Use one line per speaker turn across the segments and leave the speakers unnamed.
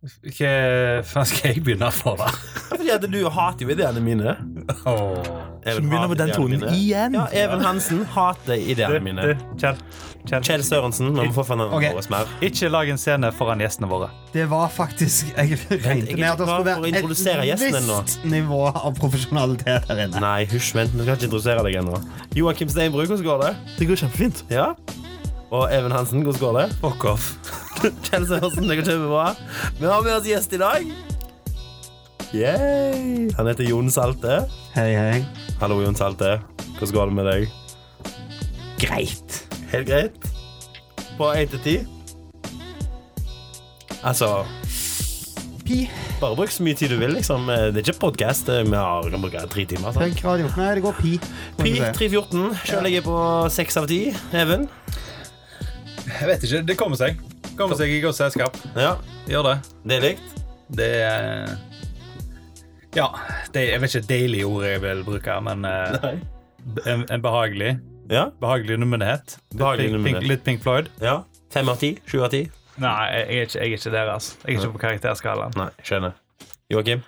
Hva faen skal jeg begynne for, da?
Fordi at du hater jo ideene mine.
Åh.
Even
Så du begynner
hater
på den
ideene
tonen
mine.
igjen?
Ja, Even Hansen hater ideene
Du,
mine.
du, Kjell. Kjell.
Kjell Sørensen, nå må vi få fram
Ok.
navnet vårt mer.
Ikke lag en scene foran gjestene våre.
Det var faktisk Jeg regnet med at det
klar
skulle
for å introdusere
være et
gjestene nå.
visst nivå av profesjonalitet her inne.
Nei, hysj, vent, vi skal ikke introdusere deg ennå. Joakim Steinbrug, hvordan går det?
Det går kjempefint.
Ja. Og Even Hansen, hvordan går det?
Fuck off.
Kjell Sørensen, det går kjempebra. Vi har med oss gjest i dag. Yay. Han heter Jon Salte.
Hei, hei.
Hallo, Jon Salte. Hvordan går det med deg?
Greit.
Helt greit? På 1 til 10? Altså
Pi.
Bare bruk så mye tid du vil, liksom. Det er ikke podkast. Vi har vi kan bruke tre timer. sant?
Punk radio. Nei, det går pi.
Pi 314. Sjøl ligger jeg på seks av ti. Even.
Jeg vet ikke. Det kommer seg. Kommer seg i godt selskap.
Ja,
Gjør det.
det er likt.
Det er Ja. Det, jeg vet ikke deilig ord jeg vil bruke, men eh, en, en behagelig
Ja.
Behagelig nummenhet. Litt
Behagelig
Pink-
nummenhet.
Pink, litt Pink Floyd.
ja. Fem av ti? Sju av ti?
Nei, jeg er ikke, jeg er ikke der, altså. Jeg er ikke på karakterskalaen.
Nei, skjønner. Joakim?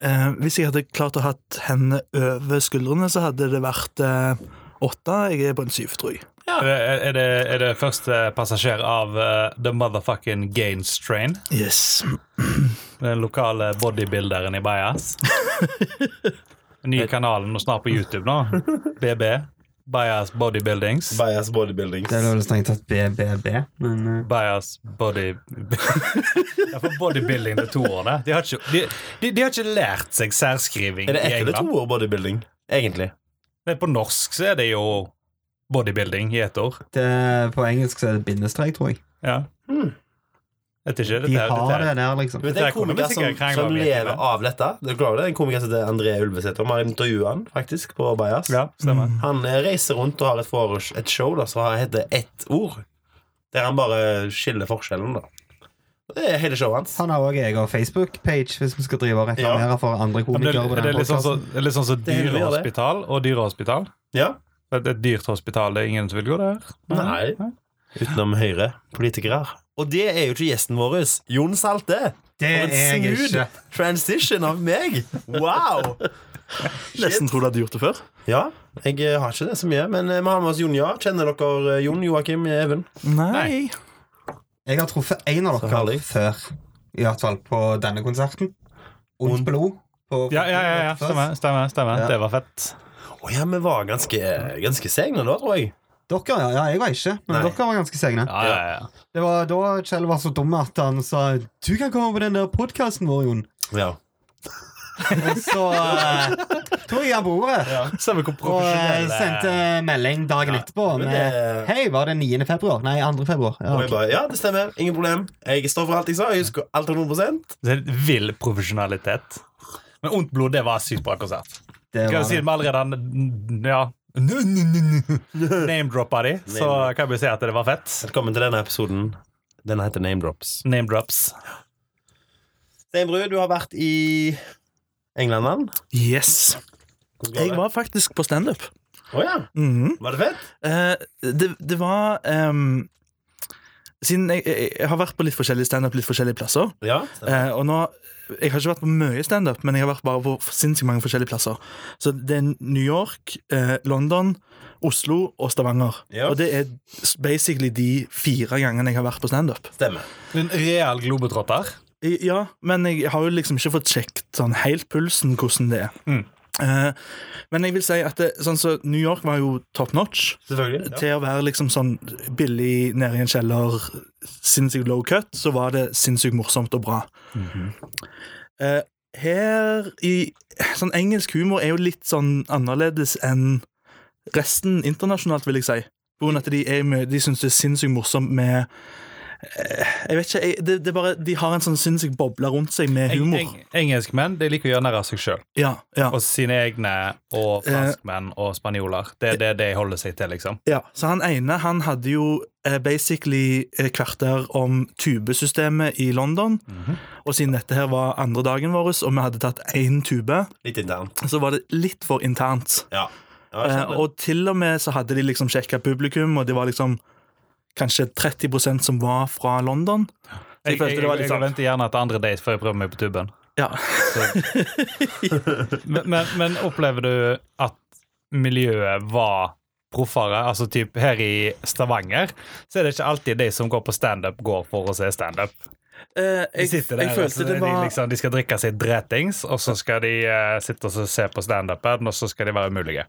Eh, hvis jeg hadde klart å hatt hendene over skuldrene, så hadde det vært eh, åtte. Jeg er på en syv, tror jeg.
Er det, er, det, er det første passasjer av eh, The Motherfucking Gaines Train?
Yes.
Den lokale bodybuilderen i Bajas. Nye kanalen og snart på YouTube nå. BB. Bajas Bodybuildings.
Bias bodybuilding.
Det er vel strengt tatt BBB, men eh,
Bajas Body... ja, for bodybuilding det er to år, det. De har ikke, de, de, de har ikke lært seg særskriving
Er det
i
ett eller to
England.
ord bodybuilding? Egentlig.
Nei, på norsk så er det jo bodybuilding i ett år.
På engelsk så er det bindestrek, tror jeg.
Ja. Vet ikke.
De
Dette,
har det
dette,
der, liksom.
Men det
Der
er en
kunne vi
komiker som,
sikkert krangle
som
om det,
lever
men-
av dette. Det er klar, over det. En komiker som heter André Ulvesæter. Vi har intervjua han faktisk på Bajas.
ja, stemmer.
Mm.
Han eh, reiser rundt og har et, foresh- et show da, som heter Ett ord. Der han bare skiller forskjellen, da. Det er hele showet hans.
Han har òg egen Facebook-page, hvis vi skal drive og reklamere for andre
Ja, men
komikere. på
det, det
den
er litt sånn
podcasten.
som det er litt sånn som
Det er heller det.
dyrehospital og dyrehospital.
Ja.
Et, et dyrt hospital det er ingen som vil gå der.
Nei. Utenom Høyre. Politikere. Og det er jo ikke gjesten vår. Jon Salte.
Det
For en
er jeg
smooth
ikke.
transition av meg. Wow!
Nesten tror du hadde gjort det før.
Ja, jeg eh, har ikke det så mye, men eh, vi har med oss Jon, ja. Kjenner dere eh, Jon Joakim Even?
Nei.
Jeg har truffet en av
Så
dere
herlig.
før. I hvert fall på denne konserten. Ondt blod. på-
Ja, ja, ja, ja. stemmer. stemmer, stemmer.
Ja.
Det var fett.
Å ja, vi var ganske, eh, ganske segne da, tror jeg.
Dere, ja, ja. Jeg var ikke, men
Nei.
dere var ganske segne.
Ja, ja, ja.
Det var da Kjell var så dum at han sa 'Du kan komme på den der podkasten vår, Jon'.
Ja.
Og så eh, tok jeg han på ordet.
Stemmer hvor
Og eh,
profesjonell
sendte melding dagen etterpå
men
med
det-
'Hei, var det 9. februar?' Nei, 2. februar. Ja,
Og
ok.
jeg bare, ja, det stemmer. Ingen problem. Jeg står for alt jeg sa. Jeg husker alt 100
Det er en Vill profesjonalitet. Men Ondt blod, det var sykt bra konsert.
Det
Kan jeg
var
si
det.
det med allerede n- Ja. Name-droppa de, så kan vi si at det var fett.
Velkommen til denne episoden. Denne heter Name Drops.
Name-drops.
Steinbru, du har vært i England, mann.
Yes.
Hvordan går
Jeg
det?
var faktisk på standup.
Å ja.
Mm-hmm.
Mhm.
Var det fett?
Eh, det, det var ehm, Siden jeg, jeg, jeg har vært på litt forskjellig standup litt forskjellige plasser.
Ja.
Eh, og nå Jeg har ikke vært på mye standup, men jeg har vært bare på sinnssykt mange forskjellige plasser. Så det er New York, eh, London, Oslo og Stavanger.
Ja.
Og det er basically de fire gangene jeg har vært på standup.
Stemmer.
En real globetrotter.
I- Ja, men jeg har jo liksom ikke fått sjekket sånn helt pulsen hvordan det er.
Mm.
Eh, men jeg vil si at det, sånn så New York var jo top notch
Selvfølgelig. Ja.
til å være liksom sånn billig nede i en kjeller, sinnssykt low cut, så var det sinnssykt morsomt og bra.
Mhm.
Eh, her i Sånn engelsk humor er jo litt sånn annerledes enn resten internasjonalt, vil jeg si. På grunn av at de, er mye- de syns det er sinnssykt morsomt med eh, jeg vet ikke, jeg, det, det er bare, De har en sånn sinnssyk boble rundt seg med
Eng,
humor.
eng, engelskmenn de liker å gjøre narr av seg sjøl.
Ja, ja.
Og sine egne og
Eh.
franskmenn og spanjoler. Det er det de holder seg til, liksom.
Ja, så han ene han hadde jo eh, basically eh, kvarter om tubesystemet i London.
Mhm.
Og siden dette her var andre dagen vår, og vi hadde tatt én tube,
Litt internt.
så var det litt for internt.
Ja. Ja, jeg
Eh,
skjønner.
og til og med så hadde de liksom sjekka publikum, og det var liksom kanskje 30 som var fra London. Jeg,
Jeg, jeg,
følte det var
jeg, jeg
litt sånn
venter gjerne etter andre date før jeg prøver meg på tuben.
ja.
Men, men, men opplever du at miljøet var proffere? Altså typ her i Stavanger så er det ikke alltid de som går på standup, går for å se standup.
Eh,
De
jeg,
sitter der,
jeg
og så
følte det
er de,
var
liksom, de skal drikke seg dretings, og så skal de eh, sitte og så se på standupen, og så skal de være umulige.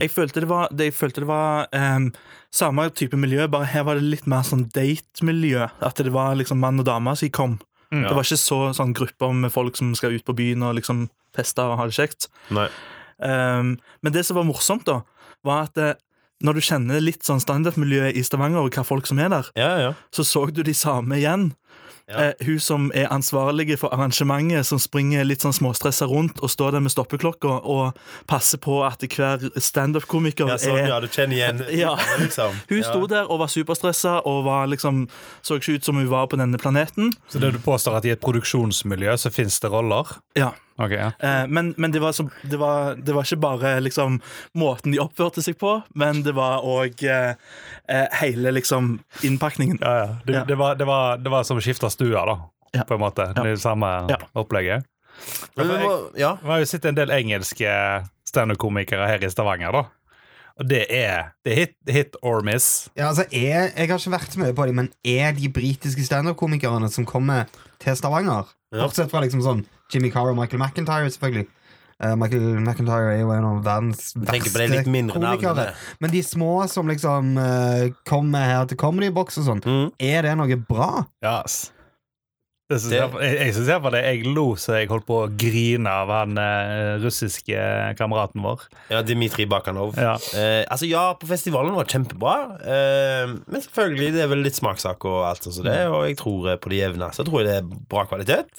Jeg følte det var, det, jeg følte det var ehm, samme type miljø, bare her var det litt mer sånn date-miljø. At det var liksom mann og dame som kom.
Mm.
Det var ikke så sånn grupper med folk som skal ut på byen og liksom feste og ha det kjekt.
Nei.
Ehm, men det som var morsomt, da, var at eh, når du kjenner litt sånn standup-miljøet i Stavanger, og hva folk som er der,
Ja, ja.
så så du de samme igjen.
Ja.
Eh, hun som er ansvarlig for arrangementet, som springer litt sånn småstressa rundt og står der med stoppeklokka og passer på at hver standup-komiker
ja, sånn,
er
ja du kjenner igjen
Ja.
liksom.
Hun sto
Ja.
der og var superstressa og var liksom, så ikke ut som hun var på denne planeten.
Så det du påstår at i et produksjonsmiljø så fins det roller?
Ja.
Ok, ja.
Eh, men men det, var så, det, var, det var ikke bare liksom, måten de oppførte seg på, men det var òg eh, eh, hele liksom, innpakningen.
Ja, ja. Det,
Ja.
det, var, det, var, det var som å skifte stuer, da.
Ja.
På en måte. Det er Det samme
Ja.
opplegget.
Men vi må, ja.
Vi har jo sett en del engelske standup-komikere her i Stavanger, da. Og det er, det er hit, hit or miss.
Ja, altså, er, jeg har ikke vært så mye på dem, men er de britiske standup-komikerne som kommer til Stavanger?
Ja.
Bortsett fra liksom sånn Jimmy Carr og Michael McIntyre, selvfølgelig. Eh, Michael McIntyre er jo en av verdens
Tenker på de
verste
litt mindre
komikere.
navnene.
Men de små som liksom eh, kommer her til Comedy Box og sånn,
Mm.
er det noe bra?
Yes. Det synes
Det-
jeg, jeg, jeg syns iallfall det. Jeg lo så jeg holdt på å grine av han eh, russiske kameraten vår.
Ja, Dmitrij Bakanov.
Ja.
Eh, altså ja, på festivalen var det kjempebra, eh, men selvfølgelig det er vel litt smakssak og alt sånt som det,
Mm.
og jeg tror eh, på det jevne så tror jeg det er bra kvalitet.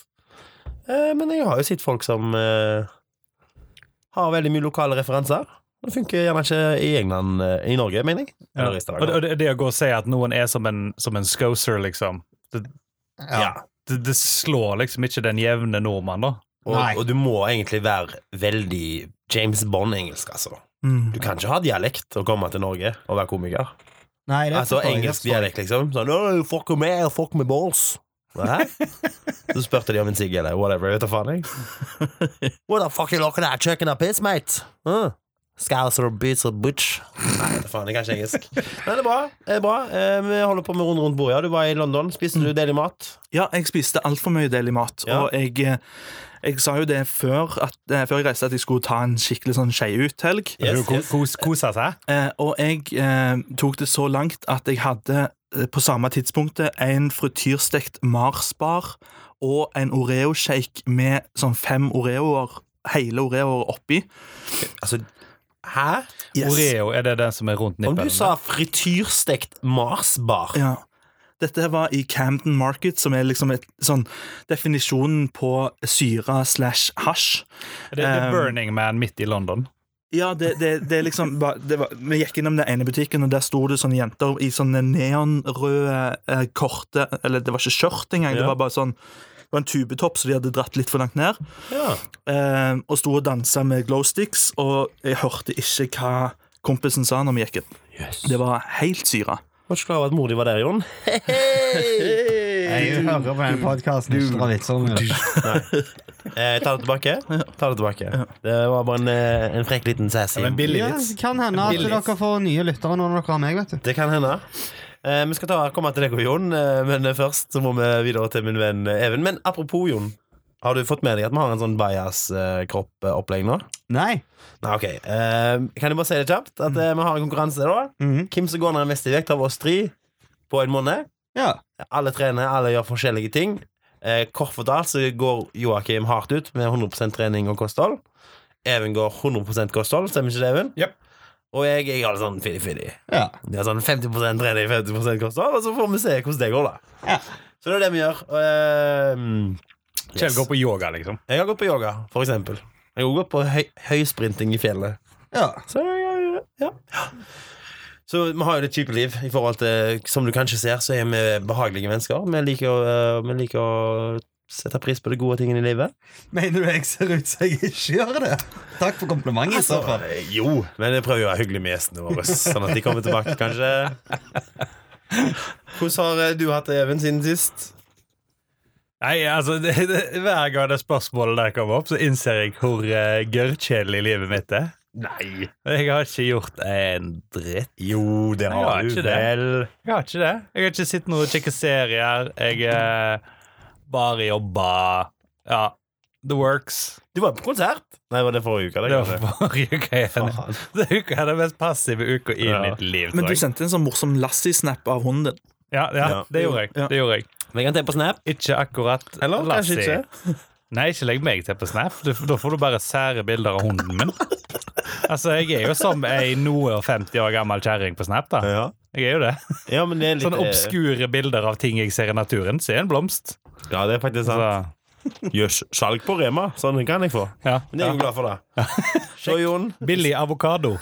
Eh, men jeg har jo sett folk som eh, har veldig mye lokale referanser. Det funker gjerne ikke i England, eh, i Norge, mener jeg.
Ja. Og det,
Eller i
og
Stavanger.
det, det å gå og si at noen er som en, som en scouser, liksom
Ja.
det, det slår liksom ikke den jevne nordmann, da.
Og,
Nei.
og du må egentlig være veldig James Bond-engelsk, altså.
Mm.
Du kan ikke ha dialekt og komme til Norge og være komiker.
Nei, det
Altså
forstår jeg, det
engelsk
forstår jeg.
dialekt, liksom. Sånn «Åh, 'Fuck me, fuck me balls'. Hæ? Så spurte de om en sigg eller whatever. Vet du faen jeg. What the fuck you looking at? Chucking up piss, mate? Huh? Scouse or beats or butch? Nei, vet du faen, jeg kan ikke engelsk. Men det er bra. det er bra Eh, Vi holder på med rundt rundt bordet. Ja, du var i London. Spiste
Mm.
du deilig mat?
Ja, jeg spiste altfor mye deilig mat.
Ja.
Og jeg, eh, jeg sa jo det før, at, eh, før jeg reiste, at jeg skulle ta en skikkelig sånn skeiut-helg.
Du ko- kos, kosa seg.
Eh, og jeg eh, tok det så langt at jeg hadde eh, på samme tidspunktet en frityrstekt Mars-bar og en Oreo-shake med sånn fem Oreoer, hele Oreoer oppi.
Altså, hæ?
Oreo, er det den som er rundt
Om
nippelen?
du sa frityrstekt marsbar
Ja. Dette her var i Camden Market, som er liksom et, sånn definisjonen på syre slash hasj.
Er det, det
Um,
er Burning Man midt i London.
Ja, det, det, det er liksom ba- det var, Vi gikk innom den ene butikken, og der sto det sånne jenter i sånne neonrøde eh, korte Eller det var ikke skjørt engang,
Ja.
det var bare sånn Det var en tubetopp, så de hadde dratt litt for langt ned.
Ja.
Eh, og sto og dansa med glowsticks, og jeg hørte ikke hva kompisen sa når vi gikk inn. Det var helt syra.
Var ikke klar over at mor di var der, Jon.
Jeg hører på den podkasten ikke dra vitser om det.
Eh, Jeg tar det tilbake. Tar det, tilbake. det var bare en, eh, en frekk liten sassy.
billig
Ja, det kan hende at dere får nye lyttere når dere har meg, vet du.
Det kan hende. Eh, vi skal ta, komme til deg og Jon, eh, men først så må vi videre til min venn eh, Even. Men apropos Jon, har du fått med deg at vi har en sånn bajas-kropp-opplegg nå?
Nei.
Nei, ok. Eh, kan jeg bare si det kjapt? At eh, vi har en konkurranse, da.
Mhm.
Hvem som går ned mest i vekt av oss tre på en måned.
Ja.
Alle trener, alle gjør forskjellige ting. Eh, kort fortalt så går Joakim hardt ut med 100 trening og kosthold. Even går 100 kosthold, stemmer ikke det, Even?
Jep.
Og jeg, jeg er litt sånn fiddy-fiddy.
ja.
Ja, sånn 50 trening, 50 kosthold, og så får vi se hvordan det går, da.
Ja.
Så det er det vi gjør. Og, ehm,
Kjell går på yoga, liksom.
jeg har gått på yoga, for eksempel. Jeg har også gått på høy, høysprinting i fjellet.
ja.
Så ja, ja, ja. Så vi har jo litt kjipt liv. i forhold til, Som du kanskje ser, så er vi behagelige mennesker. Vi liker å, eh, vi liker å sette pris på de gode tingene i livet.
Mener du jeg ser ut som jeg ikke gjør det? Takk for komplimentet. i så fall.
Eh, jo, men jeg prøver jo å være hyggelig med gjestene våre, sånn at de kommer tilbake, kanskje. Hvordan har eh, du hatt det, Even, siden sist?
Nei, altså, det, det, Hver gang det spørsmålet der kommer opp, så innser jeg hvor uh, gørrkjedelig livet mitt er.
Nei!
Jeg har ikke gjort en dritt.
Jo, det
Jeg har
har du
ikke det.
vel.
Jeg har ikke det. Jeg har ikke sett noe kjekke serier. Jeg eh, bare jobba. Ja, the works.
Du var på konsert. Nei, var det forrige uke?
Det var forrige uke. igjen. Det er uka er den mest passive uka i
Ja.
mitt liv,
Men
tror
du
jeg.
sendte en sånn morsom Lassie-snap av hunden din.
Ja, ja,
Ja.
det gjorde jeg.
Ja.
Det gjorde jeg.
Legg den til på Snap.
Ikke akkurat
Eller kanskje
Lassie.
ikke.
Nei, ikke legg meg til på Snap. Du, da får du bare sære bilder av hunden min. Altså, jeg er jo som ei noe og 50 år gammel kjerring på Snap. da
Ja.
Jeg er jo det.
ja, men det er litt eh,
Sånne obskure bilder av ting jeg ser i naturen. Se en blomst.
Ja, det er faktisk sant.
Altså,
Gjør salg på Rema. Sånn kan jeg få.
ja.
Men jeg er jo glad for det. Se, Jon.
Billig avokado.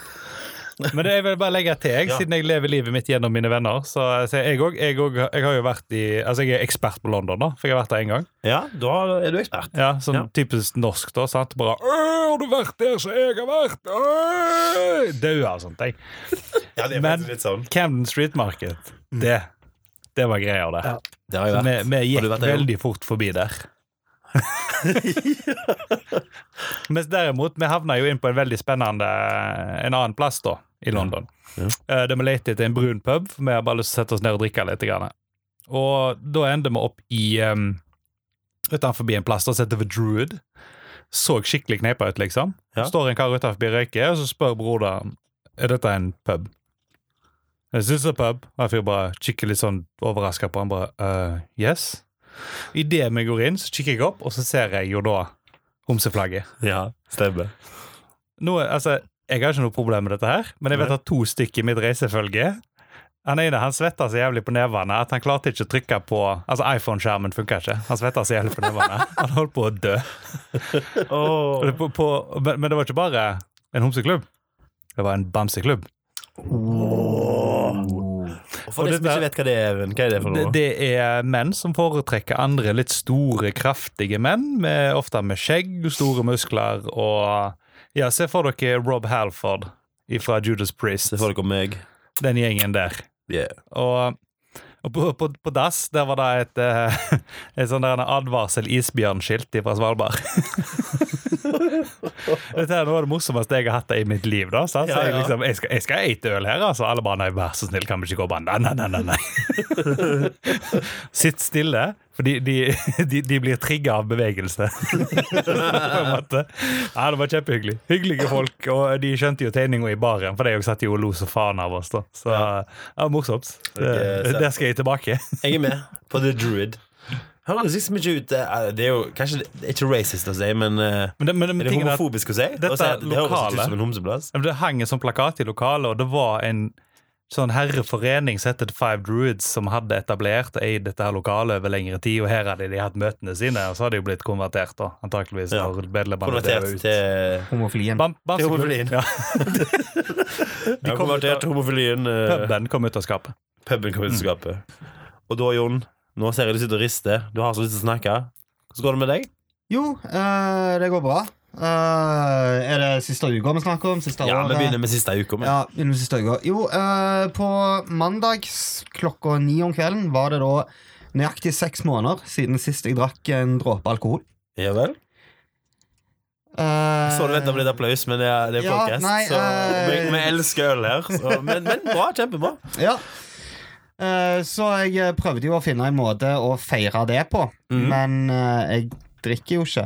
Men det jeg vil bare legge til, jeg,
Ja.
siden jeg lever livet mitt gjennom mine venner. Så, så jeg, også, jeg, også, jeg har jo vært i Altså, jeg er ekspert på London, da, for jeg har vært der én gang.
Ja, da er du ekspert.
Ja, sånn
Ja.
typisk norsk, da. Sant? Bare «Ø, 'Har du vært der som jeg har vært?' Ø!» Daua og sånt, jeg.
Ja, det er
Men-
faktisk litt sånn.
Camden Street Market, det, det var greier, det.
Mm. Det har jeg
Så vi,
vært.
vi
Har
gikk
du vært der, Jon?
veldig fort forbi der. Mens derimot, vi havna jo inn på en veldig spennende En annen plass, da, i London.
Ja.
Eh, Der vi lette etter en brun pub, for vi har bare lyst til å sette oss ned og drikke litt. Grann. Og da endte vi opp i um, utenfor en plass da, som heter The Druid. Så skikkelig kneipa ut, liksom.
Ja.
Står en kar utenfor røyker, og så spør broderen er dette en pub. Is this a pub? Og jeg fyr bare kikker litt sånn overraska på han bare «Eh, Yes. Idet vi går inn, så kikker jeg opp, og så ser jeg jo da homseflagget.
Ja, stemmer.
Nå, altså, jeg har ikke noe problem med dette her, men jeg vet
Nei.
at to stykker i mitt reisefølge Han ene han svetta så jævlig på nevene at han klarte ikke å trykke på Altså, iPhone-skjermen funka ikke. Han svetta så jævlig på nevene. Han holdt på å dø. Og det på, på, men, men det var ikke bare en homseklubb. Det var en bamseklubb.
Og for de som
dette-
ikke vet hva det er, Even, hva er det for
Det,
noe?
det er menn som foretrekker andre litt store, kraftige menn, med, ofte med skjegg, store muskler og Ja, se for dere Rob Halford fra Judas Priest,
Se for dere meg.
den gjengen der.
Yeah.
Og, og på, på, på dass, der var det et, eh, et sånn der en advarsel isbjørnskilt fra Svalbard. Dette er noe av det morsomste jeg har hatt i mitt liv. da sant? Så
Ja,
jeg,
ja.
liksom, jeg skal, jeg skal ete øl her, altså. Alle bare nei, vær så snill, kan vi ikke gå bare nei, nei, nei, nei, nei. Sitt stille, for de, de, de, de blir trigga av bevegelse. på en måte. Ja, det var kjempehyggelig. Hyggelige folk, og de skjønte jo tegninga i baren, for de jo satt jo og lo så faen av oss, da. Så ja, morsomt.
er
Det- Der skal jeg tilbake.
Jeg er med på The Druid. Høres liksom ikke ut eh, Det er jo kanskje det er ikke racist å si, men eh,
Men det, men, men
er det
tingen er at-
homofobisk å si?
dette
Å si at det høres
lokale-
ikke ut som en homseplass?
Ja, men Det hang en sånn plakat i lokalet, og det var en sånn herreforening som heter The Five Druids, som hadde etablert og eid dette her lokalet over lengre tid, og her hadde de hatt møtene sine, og så hadde de jo blitt konvertert, da, antakeligvis,
Ja.
når medlemmene
Konvertert
døde ut.
til
Homofilien.
Bam, bam,
Til homofilien.
Ja,
Ja,
kom ut
konvertert
av-
homofilien. eh,
puben kom ut av skapet.
Puben kom ut av skapet. Mm. Og da, Jon, nå ser jeg du sitter og rister. Du har så lyst til å snakke. Hvordan går det med deg?
Jo, eh, det går bra. Eh, er det siste uka vi snakker om? Siste
Ja,
året?
Vi begynner med siste uka. men-
Ja, begynner med siste uka. Jo, eh, på mandag klokka ni om kvelden var det da nøyaktig seks måneder siden sist jeg drakk en dråpe alkohol.
Ja vel?
Eh,
Så du venter på litt applaus, men det er, det er
Ja,
podcast,
nei,
så
eh,
vi, vi elsker øl her. Så, men, men bra. Kjempebra.
Ja. Eh, så jeg eh, prøvde jo å finne en måte å feire det på,
Mhm.
men eh, jeg drikker jo ikke.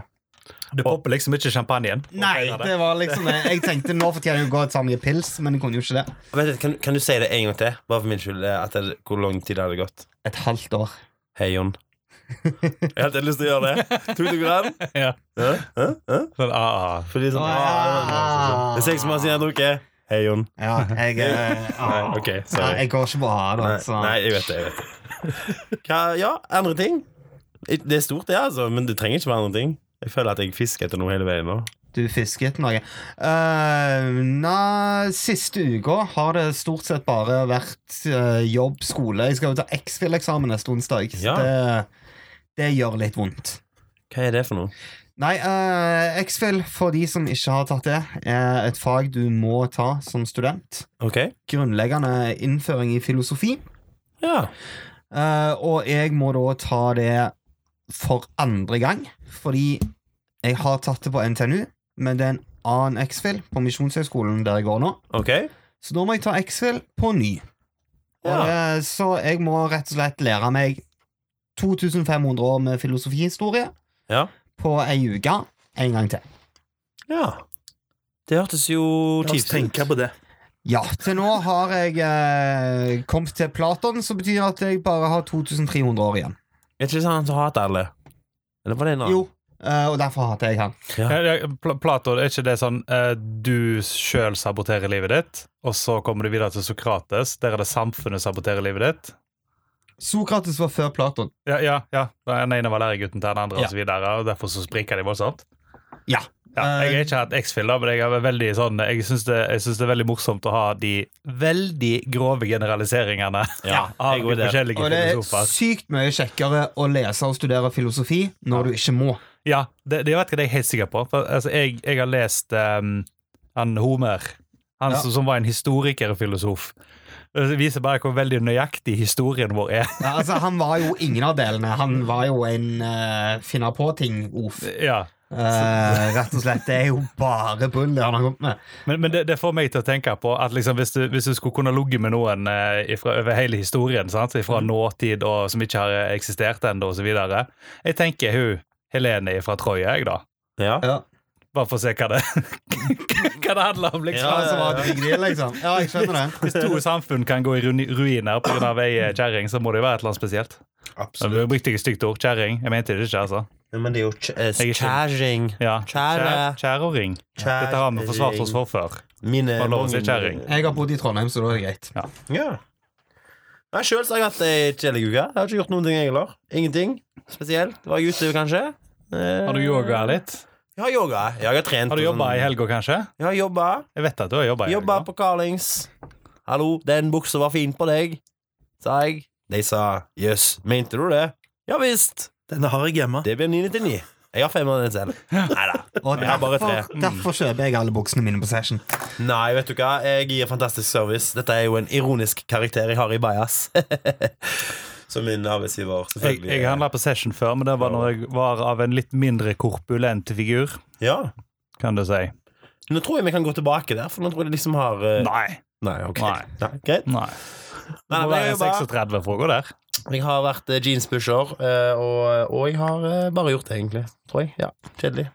Du popper liksom ikke champagnen? og
Nei,
feirer
det var liksom det. Jeg tenkte nå fortjener jeg å gå et samlet pils, men jeg kunne jo ikke det.
Vent litt, kan, kan du si det en gang til? Bare for min skyld. eh, At det, hvor lang tid det hadde gått?
Et halvt år.
Hei, Jon. Jeg har helt lyst til å gjøre det. Tok du den?
Ja.
Hæ? Hæ? Hæ?
Sånn, ah, ah.
Fordi sånn ah, Det er seks måneder siden jeg har drukket. Hei, Jon.
Ja, jeg eh, ah.
Nei, ok,
Nei,
sorry.
Jeg går ikke på å ha det.
Nei,
altså.
nei, jeg vet det. Jeg vet det. Hva, ja, andre ting. Det er stort, det, altså, men det trenger ikke være andre ting. Jeg føler at jeg fisker etter noe hele veien nå.
Du fisket noe. Eh, nei, siste uka har det stort sett bare vært eh, jobb, skole. Jeg skal jo ta X-Fil-eksamen neste onsdag. så
Ja.
Det, det gjør litt vondt.
Hva er det for noe?
Nei, eh, X-Fil, for de som ikke har tatt det, er et fag du må ta som student.
Ok.
Grunnleggende innføring i filosofi.
Ja.
Eh, og jeg må da ta det for andre gang. Fordi jeg har tatt det på NTNU, men det er en annen X-Fil på Misjonshøgskolen der jeg går nå.
OK?
Så da må jeg ta X-Fil på ny. Og,
Ja.
eh, Så jeg må rett og slett lære meg 2500 år med filosofihistorie
Ja.
på ei uke en gang til.
ja. Det hørtes jo
La oss
kjipt
tenke på det.
Ja, til nå har jeg eh, kommet til Platon, som betyr at jeg bare har 2300 år igjen.
Er ikke sant å hate alle? Eller var det en annen?
Jo, eh, og derfor hater jeg han.
Ja, ja, Pla- Plato, er ikke det sånn eh, du sjøl saboterer livet ditt, og så kommer du videre til Sokrates, der er det samfunnet saboterer livet ditt?
Sokrates var før Platon.
Ja, ja. ja. Den ene var læregutten til den andre,
Ja.
og så videre, og derfor så spriker de voldsomt.
Ja. Eh,
Ja, jeg har ikke hatt X-Fill, da, men jeg, er veldig sånn, jeg syns det, jeg synes det er veldig morsomt å ha de veldig grove generaliseringene
Ja,
av
jeg går der.
forskjellige
Og det er
filosofer.
sykt mye kjekkere å lese og studere filosofi når du ikke må.
Ja, det, det vet jeg det er jeg helt sikker på. For, altså, jeg, jeg har lest ehm, han Homer, han
Ja.
som, som var en historiker og filosof. Det viser bare hvor veldig nøyaktig historien vår er.
Ja, altså, han var jo ingen av delene. Han var jo en uh, finner-på-ting-off.
ja.
Eh, rett og slett. Det er jo bare bull det han har kommet med.
Men, men det, det får meg til å tenke på at liksom, hvis, du, hvis du skulle kunne ligget med noen eh, ifra, over hele historien, sant? fra
Mm.
nåtid og som ikke har eh, eksistert ennå, osv. Jeg tenker hun Helene fra Troja, jeg, da.
Ja.
Ja.
Bare for å se hva det, hva det handler om, liksom.
Ja,
Han som var et digri, liksom. Ja, jeg skjønner det.
Hvis to samfunn kan gå i runi- ruiner pga. ei eh, kjerring, så må det jo være et eller annet spesielt. Jeg brukte ikke stygt ord. Kjerring. Jeg mente det ikke, altså.
Men det er jo kj- eh,
Jeg er ikke-
kjæring.
Ja.
Kjære.
Kjæ- Kjæreåring. Dette har vi forsvart oss for før.
Mine
Bare lov å si
mange-
kjæring.
Jeg har bodd i Trondheim, så da er det greit.
Ja. Jeg sjøl har jeg hatt ei kjedelig uke. Jeg har ikke gjort noen ting, jeg heller. Ingenting spesielt. Var jeg ute, kanskje? Eh,
Har du yoga litt?
Jeg har yoga. Jeg har trent.
Har du
på
jobba
sånn-
i helga, kanskje?
Jeg har jobba.
Jeg vet at du har jobba i
Jobba
helga.
på Carlings. Hallo, den buksa var fin på deg, sa jeg. De sa jøss, mente du det? Ja visst.
Denne har jeg hjemme.
Det blir 9 til 9. Jeg har fem av den selv. Nei da.
Og
Jeg har bare
derfor,
tre.
derfor kjøper jeg alle buksene mine på Session.
Nei, vet du hva? Jeg gir fantastisk service. Dette er jo en ironisk karakter jeg har i Bajas. Som min arbeidsgiver,
Jeg,
selvfølgelig.
jeg handla på Session før, men det var når jeg var av en litt mindre korpulent figur,
Ja.
kan du si.
Eh. Nå tror jeg vi kan gå tilbake der, for nå tror jeg det liksom har eh,
Nei.
Nei, ok.
Nei.
Nei, greit.
Nei. Det
Nei,
må
men
være
jeg jobber-
36 frågor der.
Jeg har vært eh, jeanspusher, eh, og, og jeg har eh, bare gjort det, egentlig. Tror jeg. Ja, Kjedelig.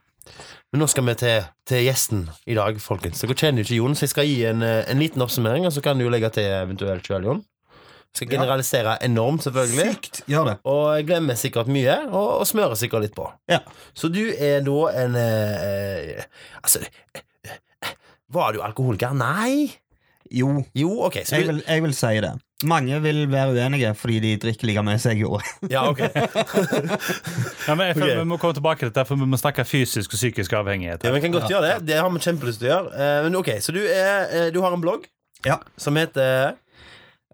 Men nå skal vi til, til gjesten i dag, folkens. Dere kjenner jo ikke Jon, så jeg skal gi en, eh, en liten oppsummering, og så kan du jo legge til eventuelt sjøl, Jon. Skal generalisere enormt, selvfølgelig.
Sykt gjør det.
Og jeg glemmer sikkert mye, og, og smører sikkert litt på.
Ja.
Så du er da en eh, eh, Altså eh, eh, Var du alkoholiker? Nei?
Jo,
Jo, ok. Så
jeg
du,
vil, jeg vil si det. Mange vil være uenige fordi de drikker like mye som jeg gjorde.
ja, ok.
Ja, men jeg føler
Ok.
Vi må komme tilbake til dette, for vi må snakke fysisk og psykisk avhengighet.
Ja,
her.
vi kan godt gjøre det. Det har vi kjempelyst til å gjøre. Eh, men ok, Så du, er, eh, du har en blogg
Ja.
som heter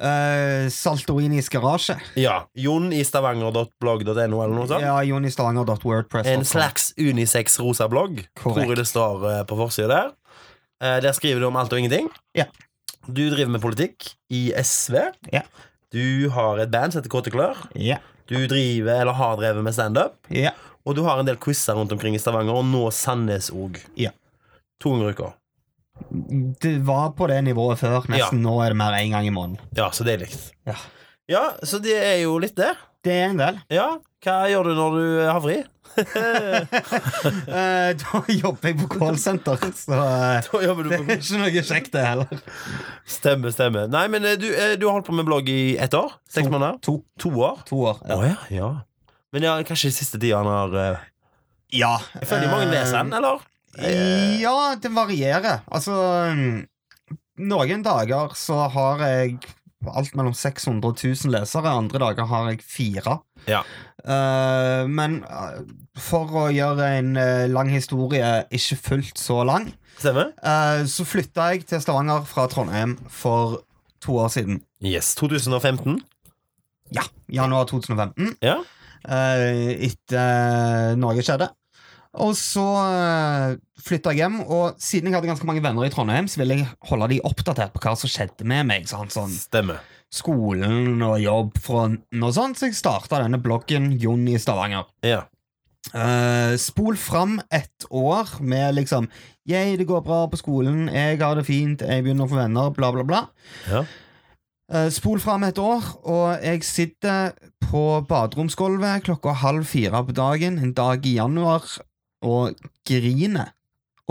Eh, Saltorinis garasje.
ja, jonistavanger.blogg.no eller noe sånt.
Ja, jonistavanger.wordpress.com.
En slags unisex-rosa blogg,
Korrekt.
tror jeg det står eh, på forsida der. Eh, der skriver du om alt og ingenting.
Ja.
Du driver med politikk i SV.
Ja.
Du har et band som heter Kåte klør.
Ja,
Du driver, eller har drevet med standup.
ja,
Og du har en del quizer rundt omkring i Stavanger, og nå Sandnes òg.
Ja.
To ganger i uka.
Det var på det nivået før. Nesten nå er det mer én gang i måneden.
Ja, så det er likt.
Ja.
ja, så det er jo litt det.
Det er en del.
Ja, hva gjør du når du har fri?
Eh, da jobber jeg på callsenter, så eh,
Da jobber du
det er ikke noe kjekt, det heller.
Stemme, stemme. Nei, men eh, du, eh, du har holdt på med blogg i ett år? Seks
To.
måneder?
To,
To år?
to år.
Å ja, ja. Men ja, kanskje de siste tida han har eh,
Ja.
Jeg føler mange
eh,
leser den, eller?
Ja, det varierer. Altså mm, Noen dager så har jeg alt mellom 600 og 1000 lesere. Andre dager har jeg fire.
Ja.
Eh, men eh, for å gjøre en eh, lang historie ikke fullt så lang,
Stemmer?
eh, så flytta jeg til Stavanger fra Trondheim for to år siden.
Yes. 2015?
Ja, januar 2015.
Ja.
Eh, Etter noe skjedde. Og så uh, flytta jeg hjem, og siden jeg hadde ganske mange venner i Trondheim, så ville jeg holde de oppdatert på hva som skjedde med meg. Sant? Sånn
Stemmer.
skolen og jobb fra n- og sånt, så jeg starta denne bloggen Jon i Stavanger.
Ja.
Eh, spol fram ett år med liksom Yay, det går bra på skolen, jeg har det fint, jeg begynner å få venner, bla, bla, bla.
Ja.
Eh, spol fram et år, og jeg sitter på baderomsgulvet klokka halv fire på dagen en dag i januar og griner.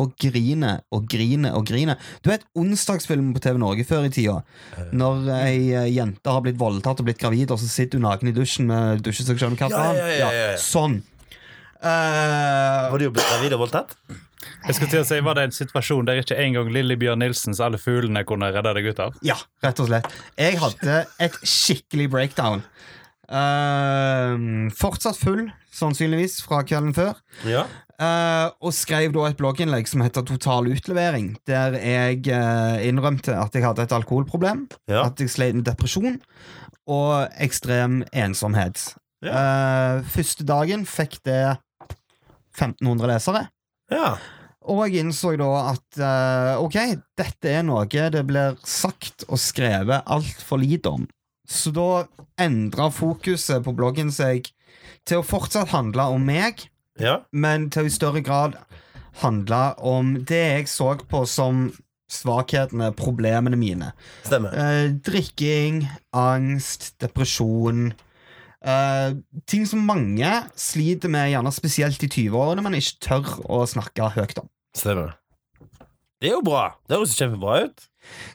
Og griner og griner og griner. Du vet onsdagsfilmen på TV Norge før i tida? Når ei eh, jente har blitt voldtatt og blitt gravid, og så sitter hun naken i dusjen med dusjesuksjon og
Ja, ja, ja, ja, ja.
Sånn. Eh,
Har du blitt gravid og voldtatt?
Jeg skulle til å si, Var det en situasjon der ikke engang Lillebjørn Nilsens Alle fuglene kunne redde deg ut av?
ja, rett og slett. Jeg hadde et skikkelig breakdown. Eh, fortsatt full, sannsynligvis, fra kvelden før.
Ja.
Eh, og skrev da et blogginnlegg som heter Total utlevering, der jeg eh, innrømte at jeg hadde et alkoholproblem,
Ja.
at jeg slet med depresjon og ekstrem ensomhet. Eh, første dagen fikk det 1500 lesere,
ja.
og jeg innså da at eh, ok, dette er noe det blir sagt og skrevet altfor lite om. Så da endra fokuset på bloggen seg til å fortsatt handle om meg
Ja.
men til i større grad handla om det jeg så på som svakhetene, problemene mine.
Stemmer.
Eh, drikking, angst, depresjon. Eh, ting som mange sliter med, gjerne spesielt i 20-årene, men ikke tør å snakke høyt om.
Stemmer. Det er jo bra. Det høres kjempebra ut.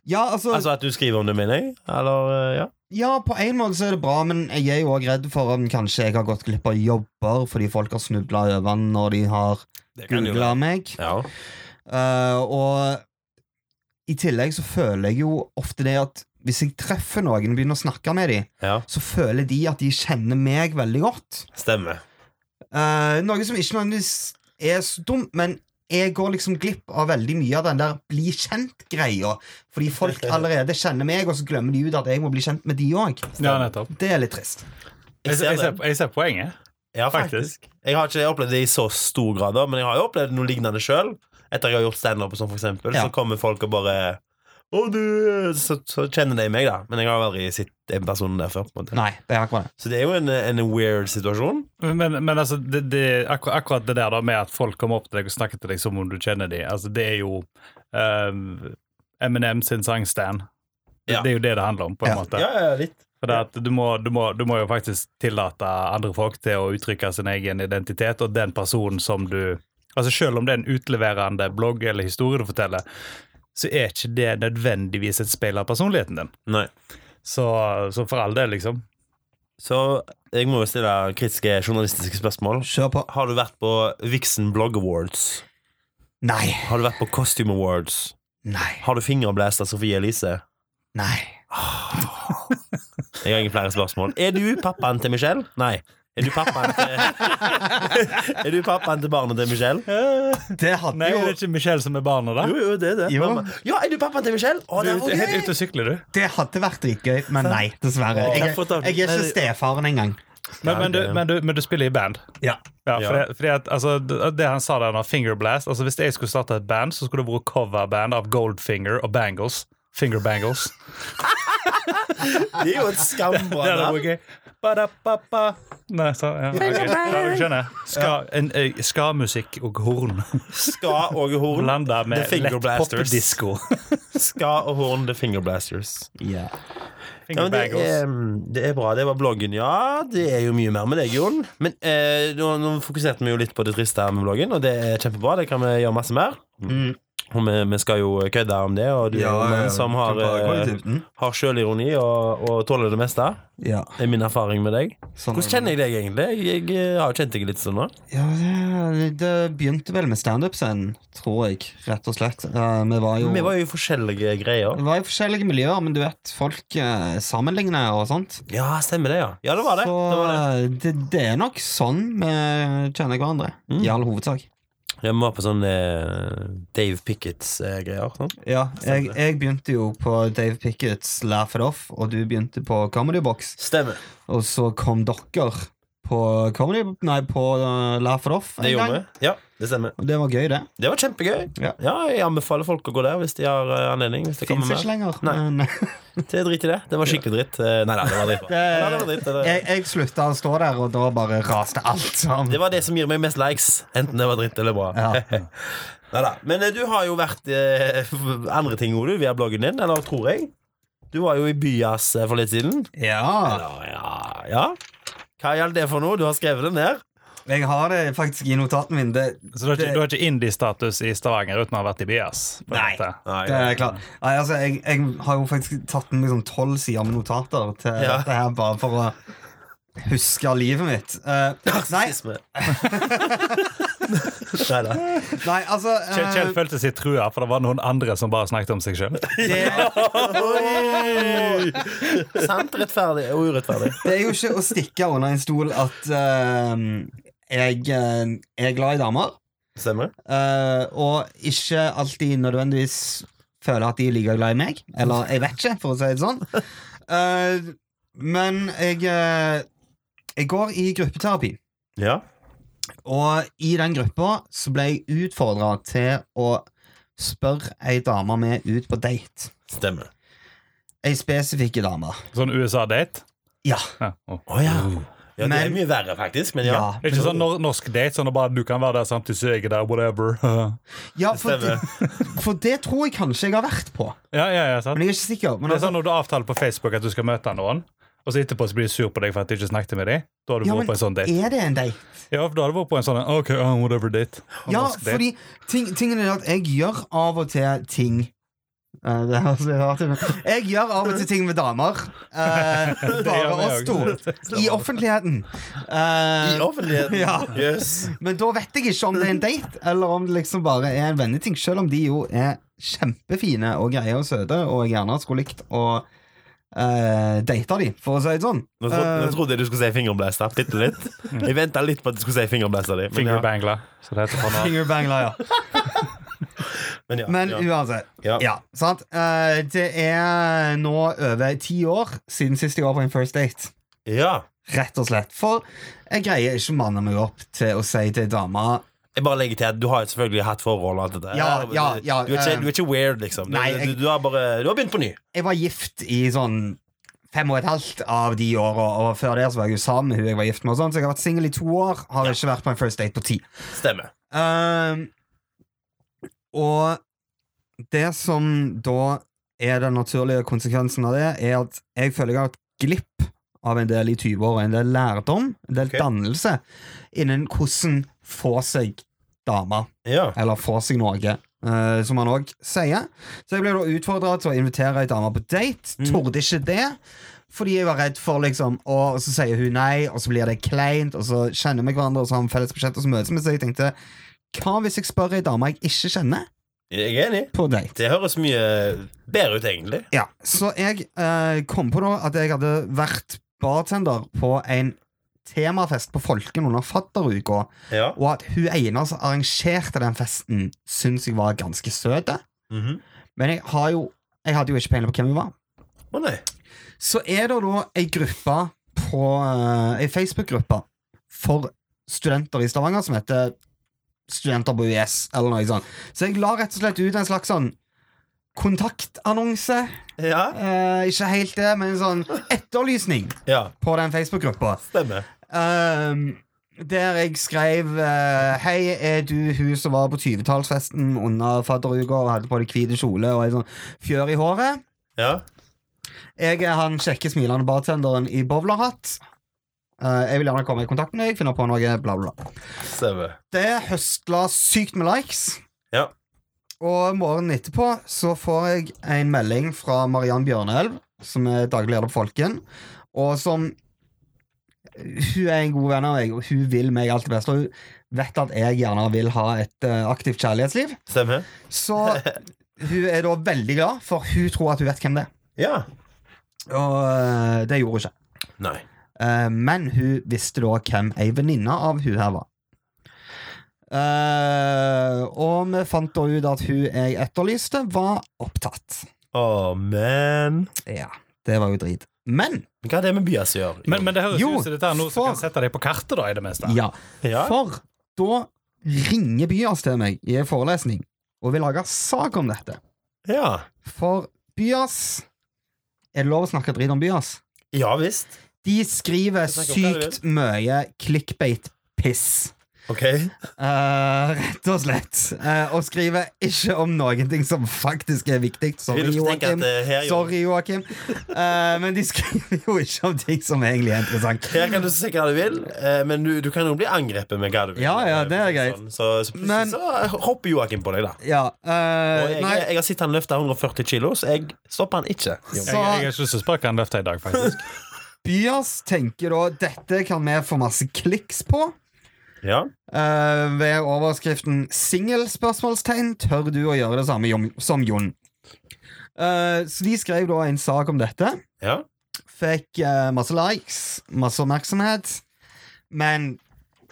Ja, altså,
Altså at du skriver om det, mener jeg. Eller, eh, ja.
ja, på en måte så er det bra, men jeg er jo òg redd for om kanskje jeg har gått glipp av jobber fordi folk har snubla over den når de har
Det
googla meg.
Ja.
Eh, og i tillegg så føler jeg jo ofte det at hvis jeg treffer noen og begynner å snakke med dem,
ja.
så føler de at de kjenner meg veldig godt.
Stemmer.
Eh, noe som ikke nødvendigvis er så dumt, men jeg går liksom glipp av veldig mye av den der bli kjent-greia. Fordi folk allerede kjenner meg, og så glemmer de ut at jeg må bli kjent med de òg.
Ja, nettopp.
Det er litt trist.
Jeg,
ser
jeg, ser,
den.
jeg ser poenget,
Ja, faktisk.
faktisk.
Jeg har ikke opplevd det i så stor grad, da, men jeg har jo opplevd noe lignende sjøl. Etter jeg har gjort standup, og sånn, for eksempel,
Ja.
så kommer folk og bare å, du, så, så kjenner de meg, da. Men jeg har aldri sett den personen der før. på en måte
Nei, det er akkurat det.
Så det er jo en, en weird situasjon.
Men, men altså, det, det, akkur akkurat det der da med at folk kommer opp til deg og snakker til deg som om du kjenner dem, altså, det er jo ehm, Eminem sin sang 'Stan'.
Ja.
Det er jo det det handler om, på en
Ja.
måte.
ja, litt.
For det at du må, du, må, du må jo faktisk tillate andre folk til å uttrykke sin egen identitet, og den personen som du Altså Selv om det er en utleverende blogg eller historie du forteller, så er ikke det nødvendigvis et speil av personligheten din.
Nei.
Så, så for all del, liksom.
Så jeg må jo stille kritiske journalistiske spørsmål.
Kjør på.
Har du vært på Vixen Blog Awards?
Nei,
Har du vært på Costume Awards?
nei,
Har du fingerblast av Sofie Elise?
nei.
Jeg har ingen flere spørsmål. Er du pappaen til Michelle? Nei. Er du pappaen til, er du pappaen til barnet til Michelle?
Det hadde
Nei, det
jo
er ikke Michelle som er barna, da.
Jo, jo, det er det.
Jo,
Mamma. Ja, er du pappaen til Michelle? Å,
Du
det
er
er
ute- helt ute og sykler, du.
det hadde vært dritgøy, men nei, dessverre. Jeg,
Derfor tar
er-
vi-
jeg er
Nei,
ikke
det-
stefaren engang.
Men, men, du, men, du, men du spiller i band?
Ja.
Ja, for
Ja.
Det, fordi at, altså, det- det han sa der, nå, Fingerblast altså, Hvis jeg skulle starte et band, så skulle det vært coverband av Goldfinger og Bangles. Finger Bangles.
Det er jo et skambra
Det hadde vært gøy. Ba-da-ba-ba. Nei, så, ja. ok. Ja, du skjønner. Ska, en, øy, ska-musikk og horn
Ska og horn.
blanda med
The Finger
lett
Blasters.
popdisko.
Ska og horn, The Fingerblasters.
Ja.
Ja, men det, er,
Fingerbangles.
det er bra. Det var bloggen, ja. Det er jo mye mer med deg, Jon. Men eh, nå, nå fokuserte vi jo litt på det triste her med bloggen, og det er kjempebra. Det kan vi gjøre masse mer.
Mm.
Og vi, vi skal jo kødde om det, og du er jo en mann som har, eh,
Mm.
har sjølironi og, og tåler det meste.
Ja.
Det er min erfaring med deg.
Sånn,
Hvordan kjenner jeg deg egentlig? Jeg, jeg har jo kjent deg litt sånn nå.
Ja, det, det begynte vel med standup-scenen, tror jeg. Rett og slett. Eh, vi var jo
Vi var jo i forskjellige greier.
vi var i forskjellige miljøer, men du vet, folk eh, sammenligner og sånt.
Ja, stemmer det, ja. Ja, det var det.
Så
det, var det.
eh, det. Det, er nok sånn vi kjenner hverandre,
Mm.
i all hovedsak.
Ja, vi var på sånn eh, Dave Pickets-greier. sånn.
Ja, jeg, jeg begynte jo på Dave Pickets Laugh It Off, og du begynte på Comedy Box.
Stemmer.
Og så kom dere på Comedy Nei, på uh, Laugh It Off en
Det
gang.
gjorde vi. Ja, det stemmer.
Og det var gøy, det.
Det var kjempegøy.
Ja.
jeg anbefaler folk å gå der hvis de har eh, anledning. Hvis det
Fins
kommer
ikke
med.
lenger.
Nei.
Men eh,
Det er dritt i det. Det var skikkelig dritt. Eh, Nei, nei, det var dritt.
Det-
Nei, det var dritt. Det,
jeg, jeg slutta å stå der, og da bare raste alt sammen.
det var det som gir meg mest likes. Enten det var dritt eller bra.
Ja.
Neida. Men eh, du har jo vært eh, andre ting, Ole, via bloggen din. Eller tror jeg. Du var jo i Byas eh, for litt siden.
Ja.
Ja, ja, ja. Hva gjaldt det for noe? Du har skrevet det ned.
Jeg har det faktisk i notatene mine. Det,
Så du har ikke,
Det-
du har ikke indie-status i Stavanger uten å ha vært i Bias? på en
Nei.
måte.
Nei,
det er klart. Nei, altså, jeg, jeg har jo faktisk tatt med liksom tolv sider med notater til
Ja.
dette her, bare for å huske livet mitt. Eh, nei,
Neida.
nei, altså
Kjell, Kjell følte seg trua, for det var noen andre som bare snakket om seg sjøl.
eh, det,
Sant, rettferdig og urettferdig.
Det er jo ikke å stikke under en stol at eh, jeg eh, er glad i damer,
Stemmer.
eh, og ikke alltid nødvendigvis føler at de er like glad i meg. Eller jeg vet ikke, for å si det sånn. Eh, men jeg, eh, jeg går i gruppeterapi,
Ja.
og i den gruppa så ble jeg utfordra til å spørre ei dame med ut på date.
Stemmer.
Ei spesifikke dame.
Sånn USA-date.
Ja.
Ja. å.
Å ja. Mm. ja. Det er
Men-
mye verre, faktisk. Men ja.
Ja,
Det er ikke sånn nor norsk date, sånn at bare du kan være der samtidig som jeg er der, whatever.
ja
Det
for,
stemmer.
for det tror jeg kanskje jeg har vært på.
ja, ja, ja, sant?
Men jeg er ikke sikker. Men
Det er
altså,
sånn når du avtaler på Facebook at du skal møte noen, og så etterpå så blir de sur på deg for at du ikke snakket med dem. Da har du
Ja,
vært
men
på en sånn date.
er det en date?
Ja, for da har du vært på en sånn OK, uh, whatever date. Og
Ja,
norsk date.
fordi ting, tingen er at jeg gjør av og til ting Eh, det høres litt rart ut. Jeg gjør av og til ting med damer. eh, bare
gjør vi
oss to.
også.
I offentligheten. Eh,
I offentligheten.
Ja.
Yes.
men da vet jeg ikke om det er en date, eller om det liksom bare er en venneting. Selv om de jo er kjempefine og greie og søte, og jeg gjerne skulle likt å eh, date de, for å si det sånn.
Nå trodde,
Eh,
nå trodde jeg du skulle si fingerblæster. Bitte litt. Jeg venta litt på at du skulle si fingerblæster di. Men ja.
Fingerbangler, som det heter for
sånn
noe.
Fingerbangler, ja.
Men ja,
Men
ja.
uansett.
Ja.
Ja, sant? Eh, det er nå over ti år siden sist jeg var på en first date.
ja.
Rett og slett. For jeg greier ikke å manne meg opp til å si til dama
Jeg bare legger til at du har jo selvfølgelig hatt forhold og alt dette.
Ja, ja, ja,
du, er ikke,
eh,
du er ikke weird, liksom. Du,
Nei, jeg-
du, du, har bare, du har begynt på ny.
Jeg var gift i sånn fem og et halvt av de åra, og før det så var jeg jo sammen med hun jeg var gift med. Og sånn, så jeg har vært singel i to år, har ikke vært på en first date på ti.
Stemmer.
Ehm, og det som da er den naturlige konsekvensen av det, er at jeg føler jeg har hatt glipp av en del i 20-åra. En del lærdom, en del
Ok.
dannelse innen hvordan få seg dame,
Ja.
eller få seg noe. eh, som han òg sier. Så jeg ble da utfordra til å invitere ei dame på date. Torde ikke det, fordi jeg var redd for liksom å, Og så sier hun nei, og så blir det kleint, og så kjenner vi hverandre, og så har vi felles budsjett, og så møtes vi. Så jeg tenkte hva hvis jeg spør ei dame jeg ikke kjenner,
Jeg er enig.
på date?
Det høres mye bedre ut, egentlig.
Ja, så jeg eh, kom på da at jeg hadde vært bartender på en temafest på Folken under fadderuka,
Ja.
og at hun ene som arrangerte den festen, syns jeg var ganske søt.
Mhm.
Men jeg, har jo, jeg hadde jo ikke peiling på hvem hun var.
Å nei.
Så er det da ei gruppe på eh, Ei Facebook-gruppe for studenter i Stavanger som heter Studenter på UiS, eller noe sånt. Så jeg la rett og slett ut en slags sånn kontaktannonse.
Ja.
Eh, ikke helt det, men en sånn etterlysning
ja.
på den Facebook-gruppa.
Stemmer.
Ehm, der jeg skrev eh, Hei, er du hun som var på 20-tallsfesten under fadderuka og hadde på deg hvit kjole og ei sånn fjør i håret?
Ja.
Jeg er han kjekke smilende bartenderen i bowlerhatt. Eh, jeg vil gjerne komme i kontakt med deg, finne på noe, bla, bla. bla.
Stemmer.
Det høstla sykt med likes.
Ja.
Og morgenen etterpå så får jeg en melding fra Mariann Bjørnelv, som er daglig leder på Folken, og som Hun er en god venn av meg, og hun vil meg alt det beste. Og hun vet at jeg gjerne vil ha et eh, aktivt kjærlighetsliv.
Stemmer.
Så hun er da veldig glad, for hun tror at hun vet hvem det er.
Ja.
Og eh, det gjorde hun ikke.
Nei.
Eh, men hun visste da hvem ei venninne av hun her var. Eh, og vi fant da ut at hun jeg etterlyste, var opptatt.
Å, men
Ja, det var jo drit. Men
Hva er det med Bias gjør?
Men, men det høres
Jo,
ut som dette er noe som
for-
kan sette deg på kartet, da, i det meste.
ja,
Ja.
for da ringer Byas til meg i en forelesning og vil lage sak om dette.
ja.
For Byas Er det lov å snakke dritt om Byas?
ja visst.
De skriver
snakke om hva du vil.
sykt mye clickbait-piss.
Ok.
Eh, rett og slett. Eh, og skriver ikke om noen ting som faktisk er viktig. Sorry,
Vil du tenke at
Joakim.
eh, her, gjør-
Sorry, Joakim. Eh, men de skriver jo ikke om ting som egentlig er interessant.
her kan du si hva du vil, eh, men du, du kan jo bli angrepet med hva du vil.
Ja, ja, det er
Eh,
greit.
Sånn. Så, så plutselig
Men-
så hopper Joakim på deg, da.
Ja, eh,
Og jeg,
nei,
jeg har sett han løfte 140 kilo, så jeg stopper han ikke.
Jeg, jeg har ikke lyst til å spørre hva han løfter i dag, faktisk.
Byas tenker da dette kan vi få masse kliks på.
Ja.
Eh, ved overskriften 'Singel?' spørsmålstegn Tør du å gjøre det samme Jon- som Jon? Eh, så de skrev da en sak om dette.
Ja.
Fikk eh, masse likes, masse oppmerksomhet. Men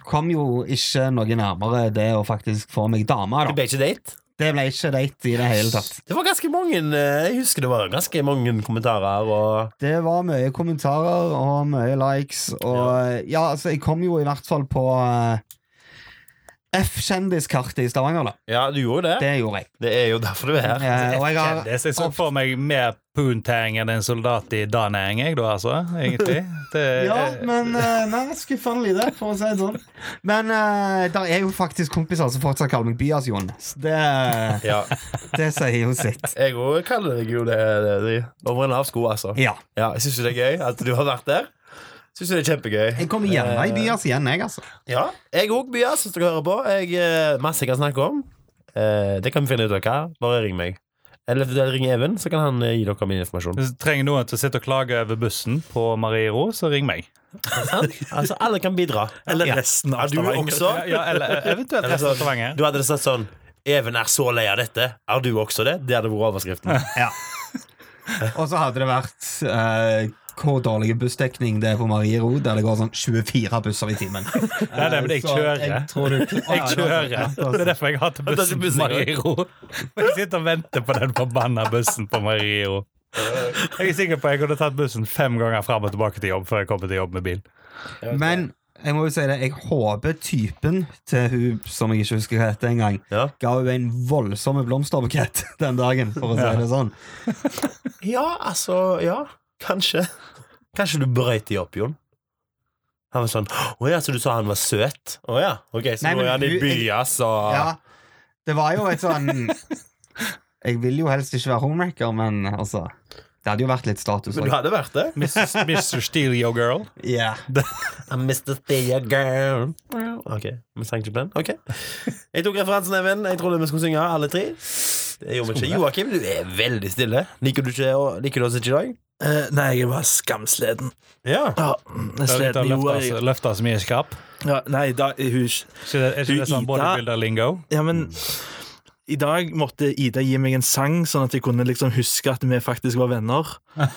kom jo ikke noe nærmere det å faktisk få meg dame.
Det
da
ble ikke date.
Det ble ikke date i det hele tatt.
Det var ganske mange eh, Jeg husker det var ganske mange kommentarer. Og
Det var mye kommentarer og mye likes, og ja, altså, jeg kom jo i hvert fall på eh, F-kjendiskartet i Stavanger, da.
ja, du gjorde det.
Det gjorde jeg.
Det er jo derfor du er her.
Eh, og jeg har
Det jeg så for meg mer poontang enn en soldat i Danang, jeg, da, altså. Egentlig. Det,
Ja, men eh, Nei, skuffende lite, for å si det sånn. Men uh, der er jo faktisk kompiser som fortsatt kaller meg Byas-Jon. Så det,
Ja,
det sier jo sitt.
Jeg òg kaller deg jo det, det, det. over en lav sko, altså.
Ja.
Ja, jeg syns jo det er gøy at du har vært der. Syns jo det er kjempegøy.
Jeg kommer gjerne i Byas igjen, jeg, altså.
Ja, jeg òg, Byas, hvis dere hører på. Jeg, eh, masse jeg kan snakke om. Eh, det kan vi finne ut av hva. Bare ring meg. Eller eventuelt ring Even, så kan han eh, gi dere min informasjon.
Hvis du trenger noen til å sitte og klage over bussen på Mariero, så ring meg.
Sant? altså, alle kan bidra.
Eller resten av
Er du
Stavanger.
også?
Ja, eller eventuelt
Eller
resten
så-
av Stavanger.
Du hadde det sagt sånn Even er så lei av dette. Er du også det? Det hadde vært overskriften.
Og så hadde det vært eh, hvor dårlig bussdekning det er på Mariero, der det går sånn 24 busser i timen.
Nei, nei, men jeg kjører.
Jeg, tror du, Å,
Jeg
ja, det var
kjører.
sant, ja, det altså- var
Det er
sant.
derfor jeg hater
Det er
bussen på
bussen, ja.
Mariero. Og Jeg sitter og venter på den forbanna bussen på Mariero. Jeg er sikker på at jeg kunne tatt bussen fem ganger fram og tilbake til jobb før jeg kommer til jobb med bil.
Men jeg må jo si det, jeg håper typen til hun som jeg ikke husker hva heter engang,
Ja.
ga hun en voldsom blomsterbukett den dagen, for å si det sånn.
Ja, altså Ja, kanskje. Kanskje du brøyt de opp, Jon. Han var sånn Å ja, så du sa han var søt? Å ja. Ok, så
Nei,
nå
men
er han i altså.»
du-
by, ass, og
Ja, det var jo et sånn Jeg vil jo helst ikke være homemaker, men altså Det hadde jo vært litt status
Men du
òg.
hadde vært det.
Mrs. Mr. Steal Yo Girl.
Yeah.
I'm Mr. Thea Girl. Ok, vi sang ikke på den. Ok. Jeg tok referansen, Even. Jeg trodde vi skulle synge, alle tre. Det gjorde vi ikke. Joakim, du er veldig stille. Liker du, ikke, å- liker du oss ikke i dag?
Eh, nei, jeg var skamsleden.
Ja.
Ja, jeg sleden jo jeg-
Løfta så mye skap.
ja, Nei, da,
Er
hun
ikke det, er ikke det sånn
Du, Ida-
bodybuilder-lingo?
Ja,
Mm.
men i dag måtte Ida gi meg en sang, sånn at jeg kunne liksom huske at vi faktisk var venner.